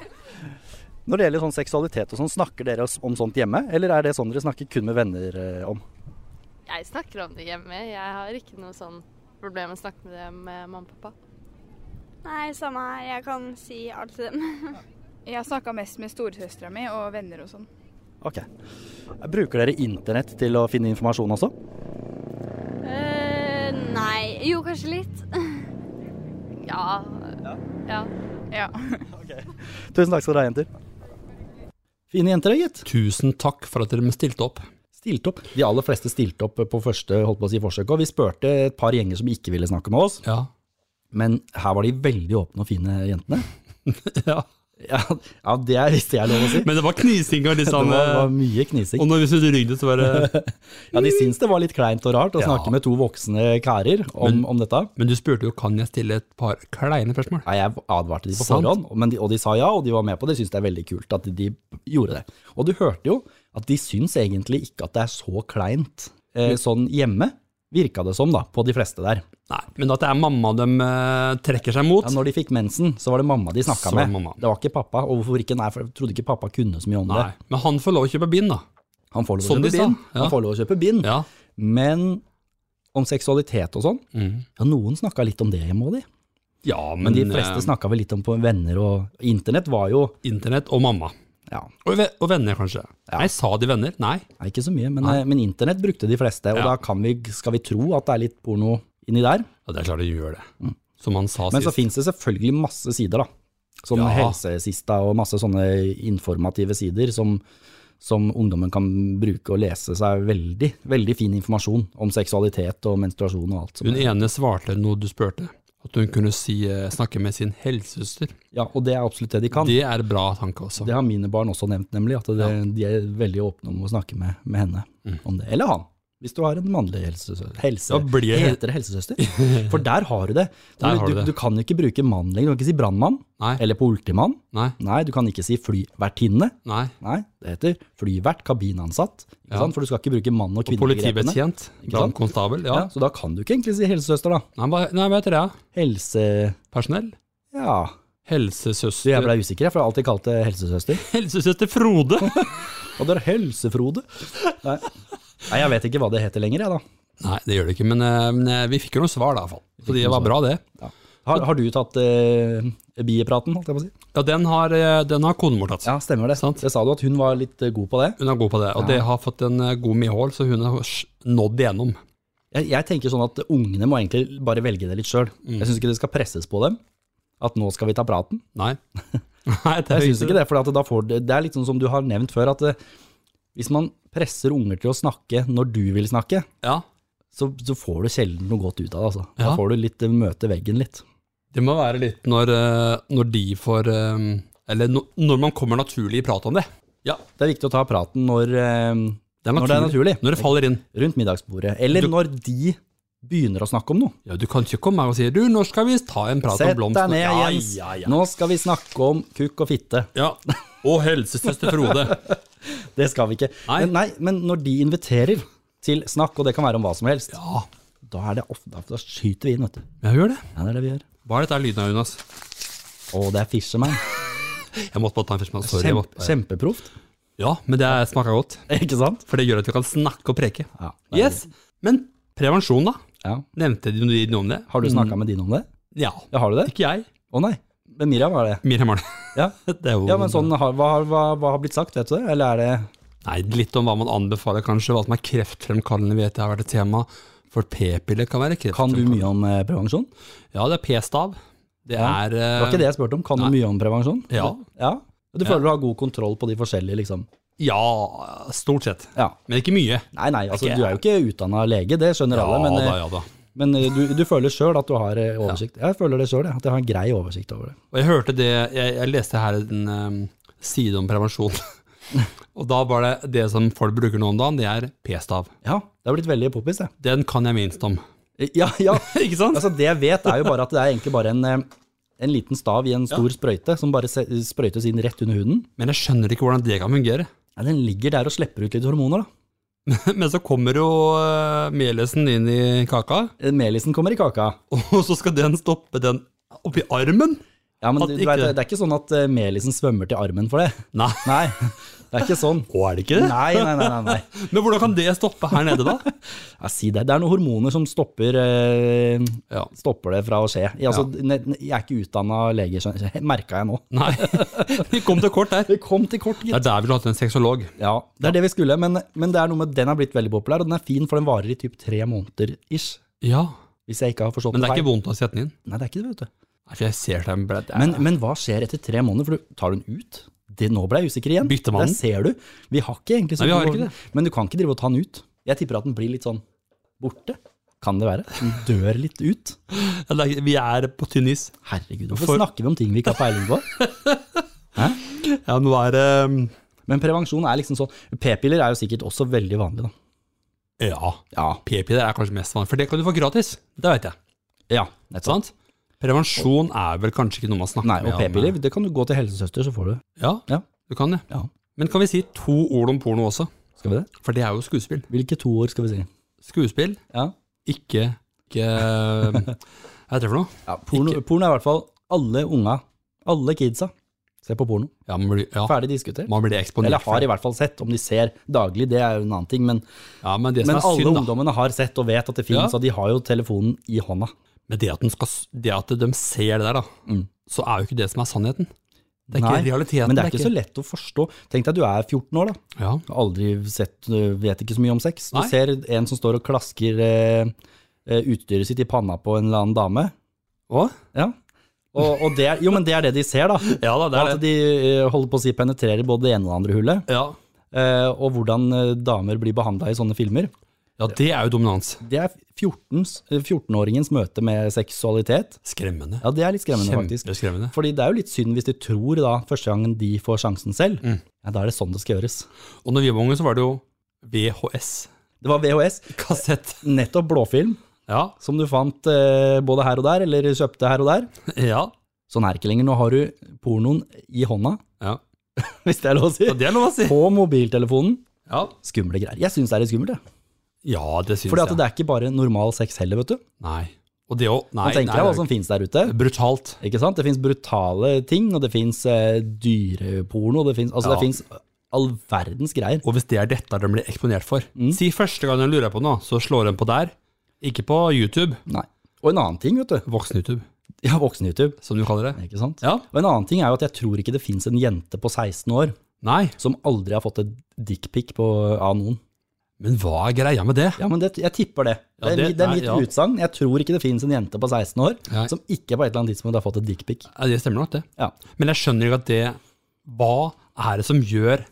[SPEAKER 1] Når det gjelder sånn seksualitet og sånn, snakker dere s- om sånt hjemme, eller er det sånn dere snakker kun med venner eh, om?
[SPEAKER 3] Jeg snakker om det hjemme. Jeg har ikke noe sånn problem med å snakke med det med mamma og pappa.
[SPEAKER 5] Nei, samme her. Jeg kan si alt til dem.
[SPEAKER 4] Jeg snakka mest med storesøstera mi og venner og sånn.
[SPEAKER 1] Ok. Bruker dere internett til å finne informasjon også?
[SPEAKER 5] Eh, nei. Jo, kanskje litt.
[SPEAKER 3] Ja. ja.
[SPEAKER 4] Ja.
[SPEAKER 1] Tusen takk skal dere ha, jenter. Fine jenter, gitt.
[SPEAKER 2] Tusen takk for at dere stilte opp.
[SPEAKER 1] Stilt opp. De aller fleste stilte opp på første holdt på å si, forsøk, og vi spurte et par gjenger som ikke ville snakke med oss,
[SPEAKER 2] Ja.
[SPEAKER 1] men her var de veldig åpne og fine jentene.
[SPEAKER 2] ja.
[SPEAKER 1] Ja, ja det er visst jeg er lov å si.
[SPEAKER 2] Men det var knising av de
[SPEAKER 1] Det
[SPEAKER 2] samme
[SPEAKER 1] var, var mye knising.
[SPEAKER 2] Og når vi snudde ryggen, så var det
[SPEAKER 1] Ja, De syns det var litt kleint og rart å
[SPEAKER 2] Ja.
[SPEAKER 1] snakke med to voksne karer om, om dette.
[SPEAKER 2] Men du spurte jo kan jeg stille et par kleine spørsmål.
[SPEAKER 1] Nei, jeg advarte de på
[SPEAKER 2] Sant.
[SPEAKER 1] forhånd, men de, og de sa ja, og de var med på det. Jeg syns det er veldig kult at de gjorde det. Og du hørte jo at de syns egentlig ikke at det er så kleint eh, sånn hjemme, virka det som da, på de fleste der.
[SPEAKER 2] Nei, men at det er mamma de eh, trekker seg mot.
[SPEAKER 1] Ja, når de fikk mensen, så var det mamma de snakka
[SPEAKER 2] Så var det
[SPEAKER 1] med.
[SPEAKER 2] mamma.
[SPEAKER 1] Det var ikke pappa, og hvorfor ikke? Nei, for jeg trodde ikke pappa kunne så mye om
[SPEAKER 2] Nei,
[SPEAKER 1] det.
[SPEAKER 2] men han får lov å kjøpe bind, da.
[SPEAKER 1] Han får lov å
[SPEAKER 2] Som de
[SPEAKER 1] kjøpe
[SPEAKER 2] sa,
[SPEAKER 1] bind,
[SPEAKER 2] ja.
[SPEAKER 1] han får lov å kjøpe bind,
[SPEAKER 2] Ja.
[SPEAKER 1] men om seksualitet og sånn,
[SPEAKER 2] Mm.
[SPEAKER 1] ja, noen snakka litt om det hjemme òg, de.
[SPEAKER 2] ja, men,
[SPEAKER 1] Men de fleste
[SPEAKER 2] eh,
[SPEAKER 1] snakka vel litt om på venner, og internett var jo
[SPEAKER 2] Internett og mamma.
[SPEAKER 1] ja,
[SPEAKER 2] Og, ve og venner, kanskje. Nei, sa de venner? Nei.
[SPEAKER 1] Nei, ikke så mye, men,
[SPEAKER 2] Nei.
[SPEAKER 1] eh, men internett brukte de fleste, og
[SPEAKER 2] Ja.
[SPEAKER 1] da kan vi, skal vi tro at det er litt porno inni der.
[SPEAKER 2] Ja, det er klart de gjør det. Som han sa
[SPEAKER 1] Mm. Men så
[SPEAKER 2] sist.
[SPEAKER 1] finnes det selvfølgelig masse sider, da. Som
[SPEAKER 2] Ja.
[SPEAKER 1] helsesista og masse sånne informative sider som, som ungdommen kan bruke og lese seg veldig, veldig fin informasjon om seksualitet og menstruasjon og alt. Som
[SPEAKER 2] Hun ene svarte noe du spurte. At hun kunne si, eh, snakke med sin helsesøster.
[SPEAKER 1] Ja, og det er absolutt det de kan.
[SPEAKER 2] Det er bra tanke også.
[SPEAKER 1] Det har mine barn også nevnt, nemlig, at det, de er veldig åpne om å snakke med, med henne om det. Eller han, hvis du har en mannlig helsesøster. Helse,
[SPEAKER 2] Mm. Da blir jeg-
[SPEAKER 1] heter det helsesøster? For der har du det. Du,
[SPEAKER 2] Der har du
[SPEAKER 1] du,
[SPEAKER 2] det.
[SPEAKER 1] du kan jo ikke bruke mann lenger. Du kan ikke si brannmann
[SPEAKER 2] Nei,
[SPEAKER 1] eller politimann.
[SPEAKER 2] nei,
[SPEAKER 1] Nei, du kan ikke si flyvertinne.
[SPEAKER 2] nei.
[SPEAKER 1] Nei, det heter flyvert, kabinansatt. Ikke
[SPEAKER 2] Ja.
[SPEAKER 1] sant? For du skal ikke bruke mann og
[SPEAKER 2] Og
[SPEAKER 1] kvinne i grepene.
[SPEAKER 2] politibetjent.
[SPEAKER 1] Ikke sant?
[SPEAKER 2] Brannkonstabel. Ja.
[SPEAKER 1] Ja, så da kan du ikke egentlig si helsesøster, da.
[SPEAKER 2] Nei, hva- nei, hva heter det? da?
[SPEAKER 1] Helse...
[SPEAKER 2] Personell?
[SPEAKER 1] Ja, du, jeg
[SPEAKER 2] Helsesøster
[SPEAKER 1] ble usikker, jeg, for jeg har alltid kalt det helsesøster.
[SPEAKER 2] Helsesøster Frode!
[SPEAKER 1] Og det er helsefrode. Nei. Nei, jeg vet ikke hva det heter lenger, jeg, da.
[SPEAKER 2] Nei, det gjør det ikke, men, eh, men eh, vi fikk jo noen svar da, i hvert fall. Så det
[SPEAKER 1] noen
[SPEAKER 2] var
[SPEAKER 1] svar.
[SPEAKER 2] bra, det.
[SPEAKER 1] Har, har du tatt eh, biepraten, holdt jeg på å si?
[SPEAKER 2] Ja, den har, eh, den har konen vår tatt.
[SPEAKER 1] Ja, stemmer det.
[SPEAKER 2] Sant.
[SPEAKER 1] Det sa du at hun var litt eh, god på det.
[SPEAKER 2] Hun er god på det, og det har fått en eh, god medhold, så hun har sj- nådd igjennom.
[SPEAKER 1] Jeg, jeg tenker sånn at ungene må egentlig bare velge det litt sjøl. Jeg syns ikke det skal presses på dem. At nå skal vi ta praten.
[SPEAKER 2] Nei. Nei, det
[SPEAKER 1] Jeg syns ikke det, for at da får det, det er litt sånn som du har nevnt før, at eh, hvis man presser unger til å snakke når du vil snakke,
[SPEAKER 2] Ja,
[SPEAKER 1] så, så får du sjelden noe godt ut av det. Altså. Da
[SPEAKER 2] Ja.
[SPEAKER 1] får du litt eh, møte veggen litt.
[SPEAKER 2] det må være litt når, eh, når de får, eh, eller no, når man kommer naturlig i prat om det. Ja,
[SPEAKER 1] Det er viktig å ta praten når, eh,
[SPEAKER 2] det er
[SPEAKER 1] når det er
[SPEAKER 2] naturlig.
[SPEAKER 1] naturlig.
[SPEAKER 2] Når det faller inn.
[SPEAKER 1] Rundt middagsbordet. Eller
[SPEAKER 2] Du-
[SPEAKER 1] når de begynner å snakke om noe.
[SPEAKER 2] Ja, du kan ikke komme her og si, du, når skal vi ta en prat om
[SPEAKER 1] Sett
[SPEAKER 2] blomster?
[SPEAKER 1] deg ned,
[SPEAKER 2] ja,
[SPEAKER 1] Jens.
[SPEAKER 2] Ja, ja.
[SPEAKER 1] Nå skal vi snakke om kukk og fitte.
[SPEAKER 2] ja. Og helsesøster Frode.
[SPEAKER 1] Det skal vi ikke.
[SPEAKER 2] Nei.
[SPEAKER 1] Men, nei, men når de inviterer til snakk, og det kan være om hva som helst,
[SPEAKER 2] Ja,
[SPEAKER 1] da, er det ofte, da skyter vi inn, vet du.
[SPEAKER 2] jeg gjør det.
[SPEAKER 1] Ja, det er det vi gjør.
[SPEAKER 2] Hva er dette her lyden av, Jonas?
[SPEAKER 1] Å, det er Fisherman.
[SPEAKER 2] Jeg måtte bare ta en først, men sorry. jeg
[SPEAKER 1] Kjempe,
[SPEAKER 2] måtte-
[SPEAKER 1] kjempeproft.
[SPEAKER 2] Ja, men det smaker godt.
[SPEAKER 1] Ikke sant?
[SPEAKER 2] For det gjør at vi kan snakke og preke.
[SPEAKER 1] Ja, det er
[SPEAKER 2] Yes, Men prevensjon, da?
[SPEAKER 1] det. Ja.
[SPEAKER 2] Nevnte de noe om det?
[SPEAKER 1] Har du snakka med din om det?
[SPEAKER 2] Ja.
[SPEAKER 1] Ja, har du det?
[SPEAKER 2] Mm. Ikke jeg.
[SPEAKER 1] Å nei. Men Miriam har det.
[SPEAKER 2] Miriam har
[SPEAKER 1] Ja,
[SPEAKER 2] det. det er jo
[SPEAKER 1] ja men sånn, har- hva, har- hva, hva har blitt sagt, vet du det? Eller er det
[SPEAKER 2] Nei, litt om hva man anbefaler, kanskje. Hva som er kreftfremkallende, vet jeg har vært et tema. For p-piller kan være
[SPEAKER 1] Kan du
[SPEAKER 2] kreftfremkallende.
[SPEAKER 1] mye om eh, prevensjon?
[SPEAKER 2] Ja, det er p-stav. Det
[SPEAKER 1] Ja,
[SPEAKER 2] er eh,
[SPEAKER 1] Det var ikke det jeg spurte om. Kan du
[SPEAKER 2] Ehm, Nei.
[SPEAKER 1] mye om prevensjon?
[SPEAKER 2] Ja.
[SPEAKER 1] ja. Du føler du har god kontroll på de forskjellige, liksom?
[SPEAKER 2] Ja, stort sett.
[SPEAKER 1] Ja.
[SPEAKER 2] Men ikke mye.
[SPEAKER 1] Nei, nei, altså,
[SPEAKER 2] Ikke-
[SPEAKER 1] du er jo ikke utdanna lege, det skjønner
[SPEAKER 2] Ja
[SPEAKER 1] alle. Men, eh,
[SPEAKER 2] da, ja da.
[SPEAKER 1] Men eh, du, du føler sjøl at du har eh, oversikt? Jeg føler det sjøl, at jeg har en grei oversikt over det.
[SPEAKER 2] Og jeg hørte det, jeg, jeg leste her en eh, side om prevensjon. og da var det det som folk bruker nå om dagen, det er p-stav.
[SPEAKER 1] Ja, det har blitt veldig poppis, det.
[SPEAKER 2] Den kan jeg minst om.
[SPEAKER 1] Ja, ja.
[SPEAKER 2] Ikke sant?
[SPEAKER 1] Altså, det jeg vet, er jo bare at det er egentlig bare en, eh, en liten stav i en stor sprøyte som bare se- sprøytes inn rett under huden.
[SPEAKER 2] Men jeg skjønner ikke hvordan det kan fungere.
[SPEAKER 1] Ja, den ligger der og slipper ut litt hormoner, da.
[SPEAKER 2] Men så kommer jo eh, melesen inn i kaka,
[SPEAKER 1] Eh, Melisen kommer i kaka.
[SPEAKER 2] og så skal den stoppe den oppi armen?
[SPEAKER 1] Ja, men
[SPEAKER 2] At
[SPEAKER 1] du, du
[SPEAKER 2] ikke
[SPEAKER 1] vet,
[SPEAKER 2] det.
[SPEAKER 1] det er ikke sånn at eh, melisen svømmer til armen for det.
[SPEAKER 2] Nei,
[SPEAKER 1] Nei, det er ikke sånn.
[SPEAKER 2] å, er det ikke det?
[SPEAKER 1] Nei, nei, nei, nei. nei.
[SPEAKER 2] Men hvordan kan det stoppe her nede, da?
[SPEAKER 1] Ja, si det. Det er noen hormoner som stopper, eh,
[SPEAKER 2] Ja.
[SPEAKER 1] stopper det fra å skje. Jeg, altså, ne- ne- jeg er ikke utdanna lege, merka jeg nå.
[SPEAKER 2] Nei, vi kom til kort der.
[SPEAKER 1] Vi kom til kort,
[SPEAKER 2] Det
[SPEAKER 1] gitt.
[SPEAKER 2] er der vi skulle hatt en sexolog.
[SPEAKER 1] Ja, det er det vi skulle, men, men det er noe med, den har blitt veldig populær, og den er fin, for den varer i typ tre måneder ish.
[SPEAKER 2] Ja,
[SPEAKER 1] Hvis jeg ikke har forstått
[SPEAKER 2] men det er
[SPEAKER 1] feil.
[SPEAKER 2] ikke vondt å sette den inn.
[SPEAKER 1] Nei, det er ikke det, vet du.
[SPEAKER 2] Nei, for jeg ser den ble- det er-
[SPEAKER 1] Men, men hva skjer etter tre måneder? For du tar den ut. Det, nå ble jeg usikker igjen.
[SPEAKER 2] Bytter man
[SPEAKER 1] Der
[SPEAKER 2] den?
[SPEAKER 1] ser du. Vi har ikke egentlig
[SPEAKER 2] Nei, vi har ikke
[SPEAKER 1] god- Men du kan ikke drive og ta den ut. Jeg tipper at den blir litt sånn borte. Kan det være? Den dør litt ut.
[SPEAKER 2] Ja, det er- Vi er på tynn is.
[SPEAKER 1] Herregud, hvorfor
[SPEAKER 2] For-
[SPEAKER 1] snakker vi om ting vi ikke har peiling på?
[SPEAKER 2] Ja, nå er ehm, det
[SPEAKER 1] Men prevensjon er liksom sånn. P-piller er jo sikkert også veldig vanlig, da.
[SPEAKER 2] Ja,
[SPEAKER 1] Ja.
[SPEAKER 2] p-piller er kanskje mest vanlig, for det kan du få gratis. Det vet jeg.
[SPEAKER 1] Ja, nettopp.
[SPEAKER 2] Sant? Prevensjon er vel kanskje ikke noe man snakker
[SPEAKER 1] Nei,
[SPEAKER 2] med
[SPEAKER 1] og
[SPEAKER 2] om,
[SPEAKER 1] p-piller, det kan du gå til helsesøster, så får du.
[SPEAKER 2] Ja,
[SPEAKER 1] Ja.
[SPEAKER 2] du kan det.
[SPEAKER 1] Ja.
[SPEAKER 2] Men kan vi si to ord om porno også?
[SPEAKER 1] Skal vi det?
[SPEAKER 2] For det er jo skuespill.
[SPEAKER 1] Hvilke to år skal vi si?
[SPEAKER 2] Skuespill,
[SPEAKER 1] Ja.
[SPEAKER 2] ikke, ikke Hva heter det for noe?
[SPEAKER 1] porno,
[SPEAKER 2] ikke-
[SPEAKER 1] porno er i hvert fall alle unga, alle kidsa, ser på porno.
[SPEAKER 2] Ja, man blir, ja,
[SPEAKER 1] Ferdig diskutert.
[SPEAKER 2] man blir eksponert.
[SPEAKER 1] Eller
[SPEAKER 2] for
[SPEAKER 1] har
[SPEAKER 2] det.
[SPEAKER 1] i hvert fall sett, om de ser daglig, det er jo en annen ting. Men,
[SPEAKER 2] ja, men det som
[SPEAKER 1] men
[SPEAKER 2] er
[SPEAKER 1] alle
[SPEAKER 2] synd, da,
[SPEAKER 1] ungdommene har sett og vet at det
[SPEAKER 2] Ja.
[SPEAKER 1] finnes, og de har jo telefonen i hånda.
[SPEAKER 2] Men det at, den skal, det at de ser det der, da,
[SPEAKER 1] Mm.
[SPEAKER 2] så er jo ikke det som er sannheten. Det er
[SPEAKER 1] Nei,
[SPEAKER 2] ikke realiteten.
[SPEAKER 1] Men det er ikke så lett å forstå. Tenk deg at du er 14 år, da.
[SPEAKER 2] Ja,
[SPEAKER 1] Har Aldri sett, øh, vet ikke så mye om sex. Du
[SPEAKER 2] Nei.
[SPEAKER 1] ser en som står og klasker eh, eh, utstyret sitt i panna på en eller annen dame.
[SPEAKER 2] Hva?
[SPEAKER 1] Ja. Og, og det er, jo, men det er det de ser, da.
[SPEAKER 2] ja da, det
[SPEAKER 1] Og
[SPEAKER 2] er
[SPEAKER 1] at
[SPEAKER 2] det.
[SPEAKER 1] de eh, holder på å si penetrerer både det ene og det andre hullet,
[SPEAKER 2] Ja.
[SPEAKER 1] eh, og hvordan eh, damer blir behandla i sånne filmer.
[SPEAKER 2] ja, det er jo dominans.
[SPEAKER 1] Det er 14s eh, 14-åringens møte med seksualitet.
[SPEAKER 2] Skremmende.
[SPEAKER 1] Ja, det er litt skremmende, faktisk.
[SPEAKER 2] Kjempeskremmende.
[SPEAKER 1] Fordi det er jo litt synd hvis de tror da, første gangen de får sjansen selv,
[SPEAKER 2] Mm.
[SPEAKER 1] ja, da er det sånn det skal gjøres.
[SPEAKER 2] Og når vi var unge, så var det jo VHS.
[SPEAKER 1] Det var VHS,
[SPEAKER 2] Kassett.
[SPEAKER 1] nettopp blåfilm,
[SPEAKER 2] Ja.
[SPEAKER 1] som du fant eh, både her og der, eller kjøpte her og der.
[SPEAKER 2] ja.
[SPEAKER 1] Sånn er det ikke lenger. Nå har du pornoen i hånda,
[SPEAKER 2] Ja.
[SPEAKER 1] hvis det er lov å si,
[SPEAKER 2] Og det er lov å si.
[SPEAKER 1] på mobiltelefonen.
[SPEAKER 2] Ja,
[SPEAKER 1] Skumle greier. Jeg syns det er litt skummelt, jeg.
[SPEAKER 2] ja det syns
[SPEAKER 1] Fordi at
[SPEAKER 2] jeg.
[SPEAKER 1] det er ikke bare normal sex heller, vet du.
[SPEAKER 2] Nei. Og det òg. Nei,
[SPEAKER 1] Man tenker
[SPEAKER 2] nei,
[SPEAKER 1] deg hva
[SPEAKER 2] det er
[SPEAKER 1] som finnes der ute.
[SPEAKER 2] jo brutalt.
[SPEAKER 1] Ikke sant? Det fins brutale ting, og det fins eh, dyreporno. Det fins altså,
[SPEAKER 2] Ja.
[SPEAKER 1] det finnes all verdens greier.
[SPEAKER 2] Og hvis det er dette de blir eksponert for
[SPEAKER 1] Mm.
[SPEAKER 2] Si første gang de lurer på noe, så slår de på der. Ikke på YouTube.
[SPEAKER 1] Nei. Og en annen ting, vet du.
[SPEAKER 2] Voksen-YouTube,
[SPEAKER 1] Ja, voksen-YouTube.
[SPEAKER 2] som du kaller det.
[SPEAKER 1] Ikke sant?
[SPEAKER 2] Ja.
[SPEAKER 1] Og en annen ting er jo at jeg tror ikke det fins en jente på 16 år
[SPEAKER 2] Nei.
[SPEAKER 1] som aldri har fått et dickpic på- av noen.
[SPEAKER 2] Men hva er greia med det?
[SPEAKER 1] Ja, men det, jeg tipper det.
[SPEAKER 2] Ja,
[SPEAKER 1] det, er
[SPEAKER 2] det-
[SPEAKER 1] mi- det er
[SPEAKER 2] nei,
[SPEAKER 1] mitt
[SPEAKER 2] ja.
[SPEAKER 1] utsagn. Jeg tror ikke det fins en jente på 16 år
[SPEAKER 2] Nei.
[SPEAKER 1] som ikke på et eller annet tidspunkt har fått et dickpic.
[SPEAKER 2] Ja, det stemmer nok, det.
[SPEAKER 1] Ja.
[SPEAKER 2] Men jeg skjønner ikke at det Hva er det som gjør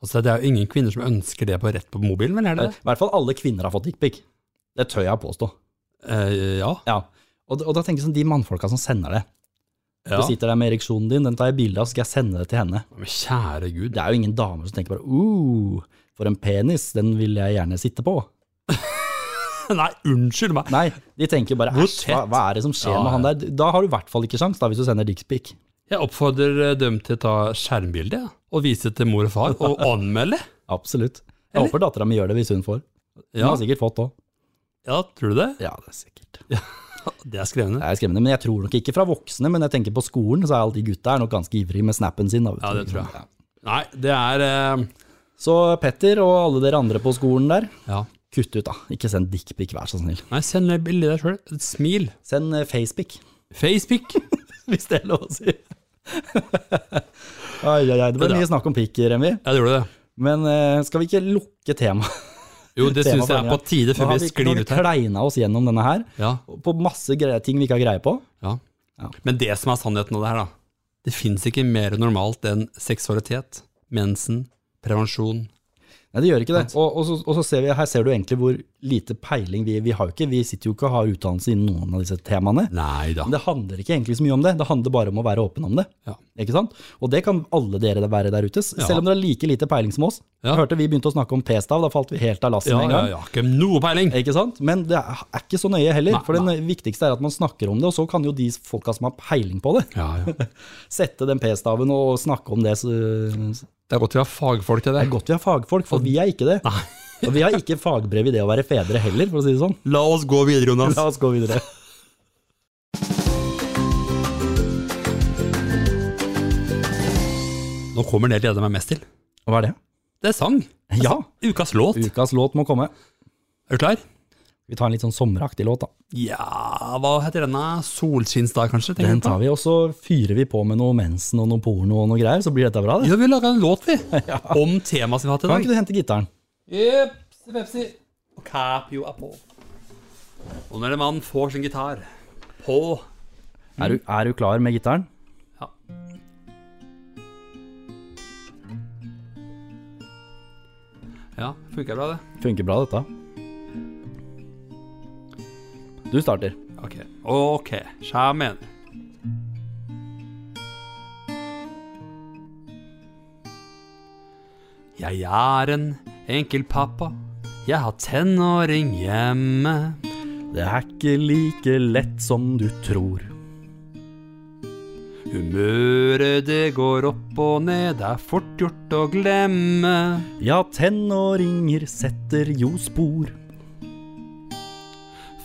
[SPEAKER 2] Altså, det er jo ingen kvinner som ønsker det på rett på mobilen, vel? Er det?
[SPEAKER 1] Eh, I hvert fall alle kvinner har fått dickpic. Det tør jeg påstå.
[SPEAKER 2] Eh, ja.
[SPEAKER 1] Ja. Og, og da tenker jeg sånn, de mannfolka som sender det.
[SPEAKER 2] ja.
[SPEAKER 1] Du sitter der med ereksjonen din, den tar jeg bilde av, så skal jeg sende det til henne.
[SPEAKER 2] Men kjære gud.
[SPEAKER 1] Det er jo ingen damer som tenker bare uh, for en penis, den vil jeg gjerne sitte på.
[SPEAKER 2] Nei, unnskyld meg.
[SPEAKER 1] Nei, de tenker bare
[SPEAKER 2] Hvor
[SPEAKER 1] æsj, hva,
[SPEAKER 2] tett?
[SPEAKER 1] hva er det som skjer
[SPEAKER 2] Ja,
[SPEAKER 1] med han der? Da har du i hvert fall ikke sjans, da, hvis du sender dickpic.
[SPEAKER 2] Jeg oppfordrer eh, dem til å ta skjermbilde ja, og vise til mor og far, og anmelde.
[SPEAKER 1] Absolutt. Jeg
[SPEAKER 2] Eller?
[SPEAKER 1] håper dattera mi gjør det hvis hun får. Hun
[SPEAKER 2] Ja,
[SPEAKER 1] har sikkert fått òg.
[SPEAKER 2] ja tror du det?
[SPEAKER 1] Ja, det er sikkert.
[SPEAKER 2] Det er skremmende.
[SPEAKER 1] Det er skremmende, men jeg tror nok ikke fra voksne, men jeg tenker på skolen, så er alle de gutta er nok ganske ivrige med snappen sin. Da, vet
[SPEAKER 2] Ja,
[SPEAKER 1] du.
[SPEAKER 2] det tror jeg. Nei, det er eh,
[SPEAKER 1] Så Petter og alle dere andre på skolen der,
[SPEAKER 2] Ja.
[SPEAKER 1] kutt ut da. Ikke send dickpic, vær så snill.
[SPEAKER 2] Nei, send et bilde deg sjøl. Et smil.
[SPEAKER 1] Send eh, facepic.
[SPEAKER 2] Facepic.
[SPEAKER 1] Hvis det er lov å si. Ai, ai, ai, det ble
[SPEAKER 2] Det da.
[SPEAKER 1] mye snakk om pikk, Remi.
[SPEAKER 2] Ja, det gjorde det.
[SPEAKER 1] Men eh, skal vi ikke lukke temaet?
[SPEAKER 2] Jo, det
[SPEAKER 1] Tema
[SPEAKER 2] syns jeg er
[SPEAKER 1] for
[SPEAKER 2] på tide
[SPEAKER 1] Nå
[SPEAKER 2] før
[SPEAKER 1] har
[SPEAKER 2] vi
[SPEAKER 1] vi, nå har
[SPEAKER 2] sklir
[SPEAKER 1] vi
[SPEAKER 2] ut her.
[SPEAKER 1] kleina oss gjennom denne her,
[SPEAKER 2] Ja.
[SPEAKER 1] på masse greier, ting vi ikke har greie på.
[SPEAKER 2] Ja.
[SPEAKER 1] Ja.
[SPEAKER 2] Men det som er sannheten av det her, da. Det fins ikke mer normalt enn seksualitet, mensen, prevensjon.
[SPEAKER 1] Nei, det gjør ikke det. Og, og, så, og så ser vi, her ser du egentlig hvor lite peiling vi, vi har jo ikke. Vi sitter jo ikke og har utdannelse innen noen av disse temaene.
[SPEAKER 2] Nei da.
[SPEAKER 1] Men det handler ikke egentlig så mye om det. Det handler bare om å være åpen om det.
[SPEAKER 2] Ja.
[SPEAKER 1] Ikke sant? Og det kan alle dere være der ute, s-
[SPEAKER 2] Ja.
[SPEAKER 1] selv om dere har like lite peiling som oss.
[SPEAKER 2] Ja.
[SPEAKER 1] Jeg hørte vi begynte å snakke om p-stav, da falt vi helt av lasset
[SPEAKER 2] Ja,
[SPEAKER 1] med en
[SPEAKER 2] ja,
[SPEAKER 1] gang.
[SPEAKER 2] ja. Ikke noe peiling.
[SPEAKER 1] Ikke sant? Men det er er ikke så nøye heller.
[SPEAKER 2] Nei,
[SPEAKER 1] for det viktigste er at man snakker om det, og så kan jo de folka som har peiling på det,
[SPEAKER 2] Ja, ja.
[SPEAKER 1] sette den p-staven og snakke om det. Så det
[SPEAKER 2] Det er godt vi har fagfolk til det.
[SPEAKER 1] er godt vi har fagfolk, for vi er ikke det. Og vi har ikke fagbrev i det å være fedre heller, for å si det sånn.
[SPEAKER 2] La oss gå videre, Jonas.
[SPEAKER 1] La oss gå videre.
[SPEAKER 2] Nå kommer det jeg gleder meg mest til.
[SPEAKER 1] Hva er det?
[SPEAKER 2] Det er sang. Det er
[SPEAKER 1] Ja.
[SPEAKER 2] sang. Ukas låt.
[SPEAKER 1] Ukas låt må komme.
[SPEAKER 2] Er du klar?
[SPEAKER 1] Vi tar en litt sånn sommeraktig låt, da.
[SPEAKER 2] Ja, hva heter denne? Solskinnsdag, kanskje? tenker
[SPEAKER 1] Den
[SPEAKER 2] jeg på.
[SPEAKER 1] tar vi, og så fyrer vi på med noe mensen og noe porno og noe greier, så blir dette bra, det.
[SPEAKER 2] Ja, vi laga en låt, vi. Om temaet som vi har hatt i
[SPEAKER 1] Kan
[SPEAKER 2] dag.
[SPEAKER 1] ikke du hente gitaren?
[SPEAKER 2] Jeps, Pepsi. Og Capio er på. Og når en mann får sin gitar på
[SPEAKER 1] Er du, er du klar med gitaren?
[SPEAKER 2] Ja. Ja, funker bra, det.
[SPEAKER 1] Funker bra, dette. Du starter.
[SPEAKER 2] Ok. Ok, skjermen. Jeg er en enkel pappa. Jeg har tenåring hjemme.
[SPEAKER 1] Det er ikke like lett som du tror.
[SPEAKER 2] Humøret det går opp og ned, det er fort gjort å glemme.
[SPEAKER 1] Ja, tenåringer setter jo spor.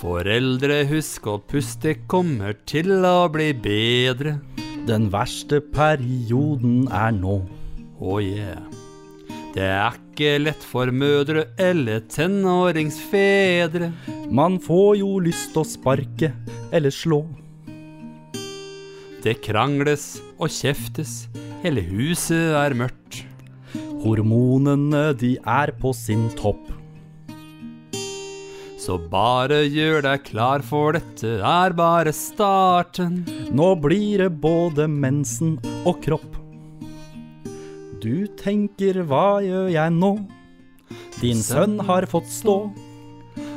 [SPEAKER 2] Foreldre, husk å puste, kommer til å bli bedre.
[SPEAKER 1] Den verste perioden er nå.
[SPEAKER 2] Oh yeah. Det er ikke lett for mødre eller tenåringsfedre.
[SPEAKER 1] Man får jo lyst å sparke eller slå.
[SPEAKER 2] Det krangles og kjeftes, hele huset er mørkt.
[SPEAKER 1] Hormonene de er på sin topp.
[SPEAKER 2] Så bare gjør deg klar, for dette er bare starten.
[SPEAKER 1] Nå blir det både mensen og kropp. Du tenker hva gjør jeg nå? Din sønn har fått stå.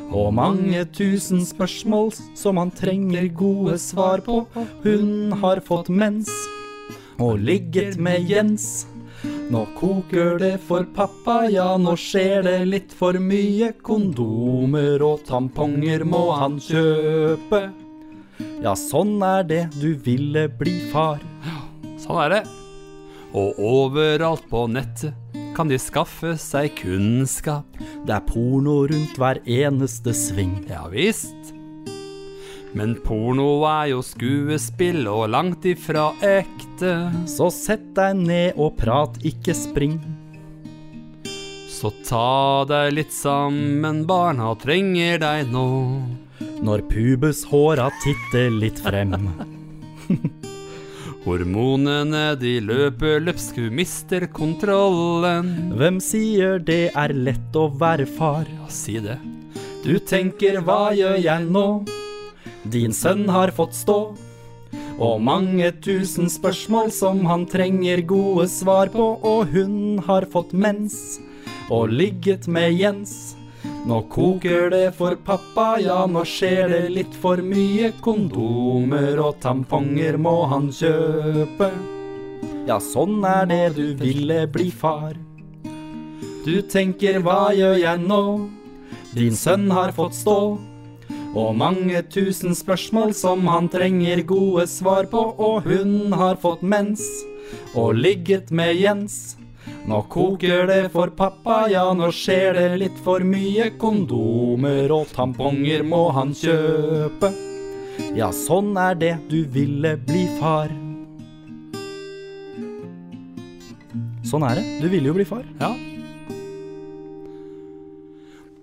[SPEAKER 1] Og mange tusen spørsmål som han trenger gode svar på. Hun har fått mens og ligget med Jens. Nå koker det for pappa, ja nå skjer det litt for mye. Kondomer og tamponger må han kjøpe. Ja, sånn er det, du ville bli far.
[SPEAKER 2] Sånn er det. Og overalt på nettet kan de skaffe seg kunnskap.
[SPEAKER 1] Det er porno rundt hver eneste sving.
[SPEAKER 2] Ja visst. Men porno er jo skuespill og langt ifra ekte.
[SPEAKER 1] Så sett deg ned og prat, ikke spring.
[SPEAKER 2] Så ta deg litt sammen, barna trenger deg nå.
[SPEAKER 1] Når pubeshåra titter litt frem.
[SPEAKER 2] Hormonene de løper løpsk, du mister kontrollen.
[SPEAKER 1] Hvem sier det er lett å være far?
[SPEAKER 2] Ja, si det.
[SPEAKER 1] Du tenker hva gjør jeg nå? Din sønn har fått stå. Og mange tusen spørsmål som han trenger gode svar på. Og hun har fått mens og ligget med Jens. Nå koker det for pappa, ja nå skjer det litt for mye. Kondomer og tamponger må han kjøpe. Ja, sånn er det du ville bli far. Du tenker hva gjør jeg nå? Din sønn har fått stå. Og mange tusen spørsmål som han trenger gode svar på. Og hun har fått mens og ligget med Jens. Nå koker det for pappa, ja nå skjer det litt for mye. Kondomer og tamponger må han kjøpe. Ja, sånn er det, du ville bli far. Sånn er det. Du ville jo bli far.
[SPEAKER 2] Ja.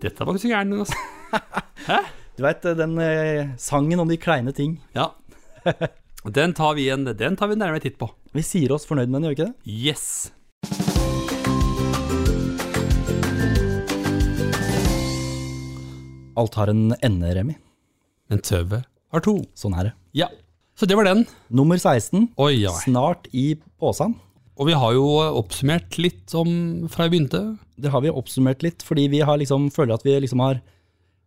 [SPEAKER 2] Dette var ikke så gærent, altså.
[SPEAKER 1] Du veit den eh, sangen om de kleine ting.
[SPEAKER 2] Ja. Den tar vi en, den tar vi en nærmere titt på.
[SPEAKER 1] Vi sier oss fornøyd med den, gjør vi ikke det?
[SPEAKER 2] Yes.
[SPEAKER 1] Alt har en ende, Remi.
[SPEAKER 2] Men Tøve har to.
[SPEAKER 1] Sånn er det.
[SPEAKER 2] Ja. Så det var den.
[SPEAKER 1] Nummer 16,
[SPEAKER 2] Oi, ja.
[SPEAKER 1] snart i posen.
[SPEAKER 2] Og vi har jo oppsummert litt om fra jeg begynte.
[SPEAKER 1] Det har vi oppsummert litt, fordi vi har liksom, føler at vi liksom har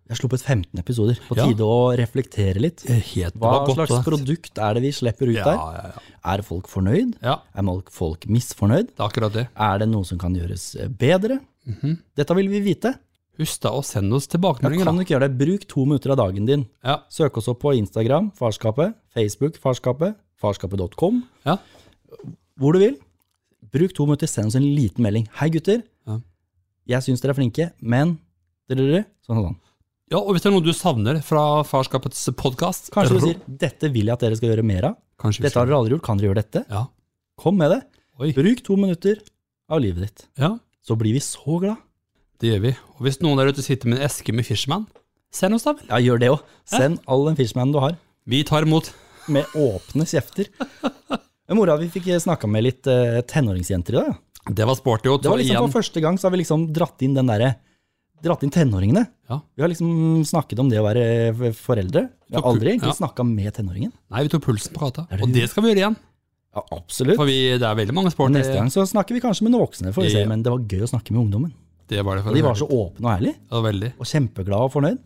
[SPEAKER 1] Vi har sluppet 15 episoder. På
[SPEAKER 2] Ja. Eh,
[SPEAKER 1] tide å reflektere litt.
[SPEAKER 2] Helt det
[SPEAKER 1] Hva
[SPEAKER 2] var godt,
[SPEAKER 1] slags
[SPEAKER 2] det.
[SPEAKER 1] produkt er det vi slipper ut
[SPEAKER 2] Ja,
[SPEAKER 1] der?
[SPEAKER 2] ja, ja.
[SPEAKER 1] Er folk fornøyd?
[SPEAKER 2] ja,
[SPEAKER 1] Er folk- folk misfornøyd?
[SPEAKER 2] det er akkurat det.
[SPEAKER 1] Er det noe som kan gjøres eh, bedre?
[SPEAKER 2] Mhm.
[SPEAKER 1] Dette vil vi vite.
[SPEAKER 2] Husk da å sende oss
[SPEAKER 1] Da
[SPEAKER 2] tilbakemeldinger.
[SPEAKER 1] kan du
[SPEAKER 2] Da.
[SPEAKER 1] ikke gjøre det. Bruk to minutter av dagen din.
[SPEAKER 2] Ja,
[SPEAKER 1] Søk oss opp på Instagram, Farskapet, Facebook, Farskapet, farskapet.com,
[SPEAKER 2] Ja.
[SPEAKER 1] hvor du vil. Bruk to minutter, send oss en liten melding. Hei gutter,
[SPEAKER 2] Ja.
[SPEAKER 1] jeg syns dere er flinke, men dere, dere, sånn og sånn.
[SPEAKER 2] ja, og hvis det er noe du savner fra Farskapets podkast
[SPEAKER 1] Kanskje du sier, dette vil jeg at dere skal gjøre mer av.
[SPEAKER 2] Kanskje vi
[SPEAKER 1] Dette har dere aldri gjort, kan dere gjøre dette?
[SPEAKER 2] Ja.
[SPEAKER 1] Kom med det.
[SPEAKER 2] Oi.
[SPEAKER 1] Bruk to minutter av livet ditt.
[SPEAKER 2] ja,
[SPEAKER 1] Så blir vi så glad.
[SPEAKER 2] det gjør vi. Og hvis noen der ute sitter med en eske med Fishman, send oss da vel.
[SPEAKER 1] Ja, gjør det òg. Send all den fishmanen du har,
[SPEAKER 2] Vi tar imot.
[SPEAKER 1] med åpne kjefter. Men Mora, vi fikk snakka med litt eh, tenåringsjenter i dag. ja.
[SPEAKER 2] Det var sporty. Og
[SPEAKER 1] Det var liksom
[SPEAKER 2] igjen,
[SPEAKER 1] For første gang så har vi liksom dratt inn den derre Dratt inn tenåringene.
[SPEAKER 2] Ja.
[SPEAKER 1] Vi har liksom snakket om det å være f- foreldre. Vi har
[SPEAKER 2] Så kul-
[SPEAKER 1] aldri egentlig
[SPEAKER 2] ja.
[SPEAKER 1] snakka med tenåringen.
[SPEAKER 2] Nei, vi tok pulsen på gata.
[SPEAKER 1] Er det-
[SPEAKER 2] Og det skal vi gjøre igjen.
[SPEAKER 1] Ja, absolutt.
[SPEAKER 2] For vi, det er veldig mange sporty.
[SPEAKER 1] Neste gang så snakker vi kanskje med noen voksne, får vi se.
[SPEAKER 2] Ja.
[SPEAKER 1] Men det var gøy å snakke med ungdommen.
[SPEAKER 2] Det var det for
[SPEAKER 1] Og de var så åpne og ærlige.
[SPEAKER 2] Ja, veldig.
[SPEAKER 1] Og kjempeglade og fornøyd.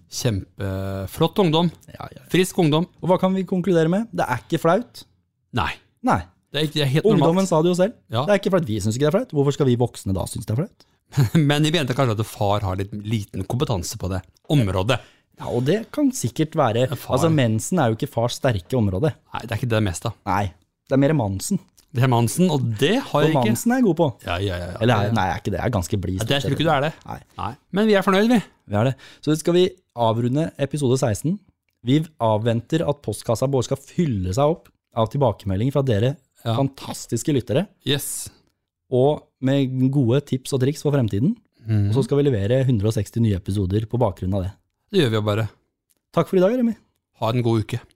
[SPEAKER 2] Kjempeflott ungdom.
[SPEAKER 1] Ja, ja.
[SPEAKER 2] Frisk ungdom.
[SPEAKER 1] Og hva kan vi konkludere med? Det er ikke flaut.
[SPEAKER 2] Nei,
[SPEAKER 1] Nei.
[SPEAKER 2] det er, ikke, det er helt
[SPEAKER 1] Ungdommen
[SPEAKER 2] normalt.
[SPEAKER 1] sa det jo selv.
[SPEAKER 2] Ja.
[SPEAKER 1] Det er ikke flaut. Vi syns ikke det er flaut. Hvorfor skal vi voksne da synes det er flaut?
[SPEAKER 2] Men vi mente kanskje at far har litt liten kompetanse på det området.
[SPEAKER 1] Ja, Og det kan sikkert være
[SPEAKER 2] Ja, far.
[SPEAKER 1] Altså, mensen er jo ikke fars sterke område.
[SPEAKER 2] Nei, det er ikke det mest, da.
[SPEAKER 1] Nei. Det er mer Mansen.
[SPEAKER 2] Det er Mansen, og det har
[SPEAKER 1] Og
[SPEAKER 2] jeg ikke.
[SPEAKER 1] Mansen er jeg god på.
[SPEAKER 2] Ja, ja, ja, ja.
[SPEAKER 1] Eller er, nei, jeg er ikke det. Jeg er ganske blid.
[SPEAKER 2] Ja, det jeg tror ikke du er det.
[SPEAKER 1] Nei.
[SPEAKER 2] Men vi er fornøyd, vi.
[SPEAKER 1] Vi er det. Så skal vi avrunde episode 16. Vi avventer at postkassa vår skal fylle seg opp av tilbakemeldinger fra dere
[SPEAKER 2] Ja.
[SPEAKER 1] fantastiske lyttere,
[SPEAKER 2] Yes.
[SPEAKER 1] og med gode tips og triks for fremtiden.
[SPEAKER 2] Mm.
[SPEAKER 1] Og så skal vi levere 160 nye episoder på bakgrunn av det.
[SPEAKER 2] Det gjør vi jo bare.
[SPEAKER 1] Takk for i dag, Remi.
[SPEAKER 2] Ha en god uke.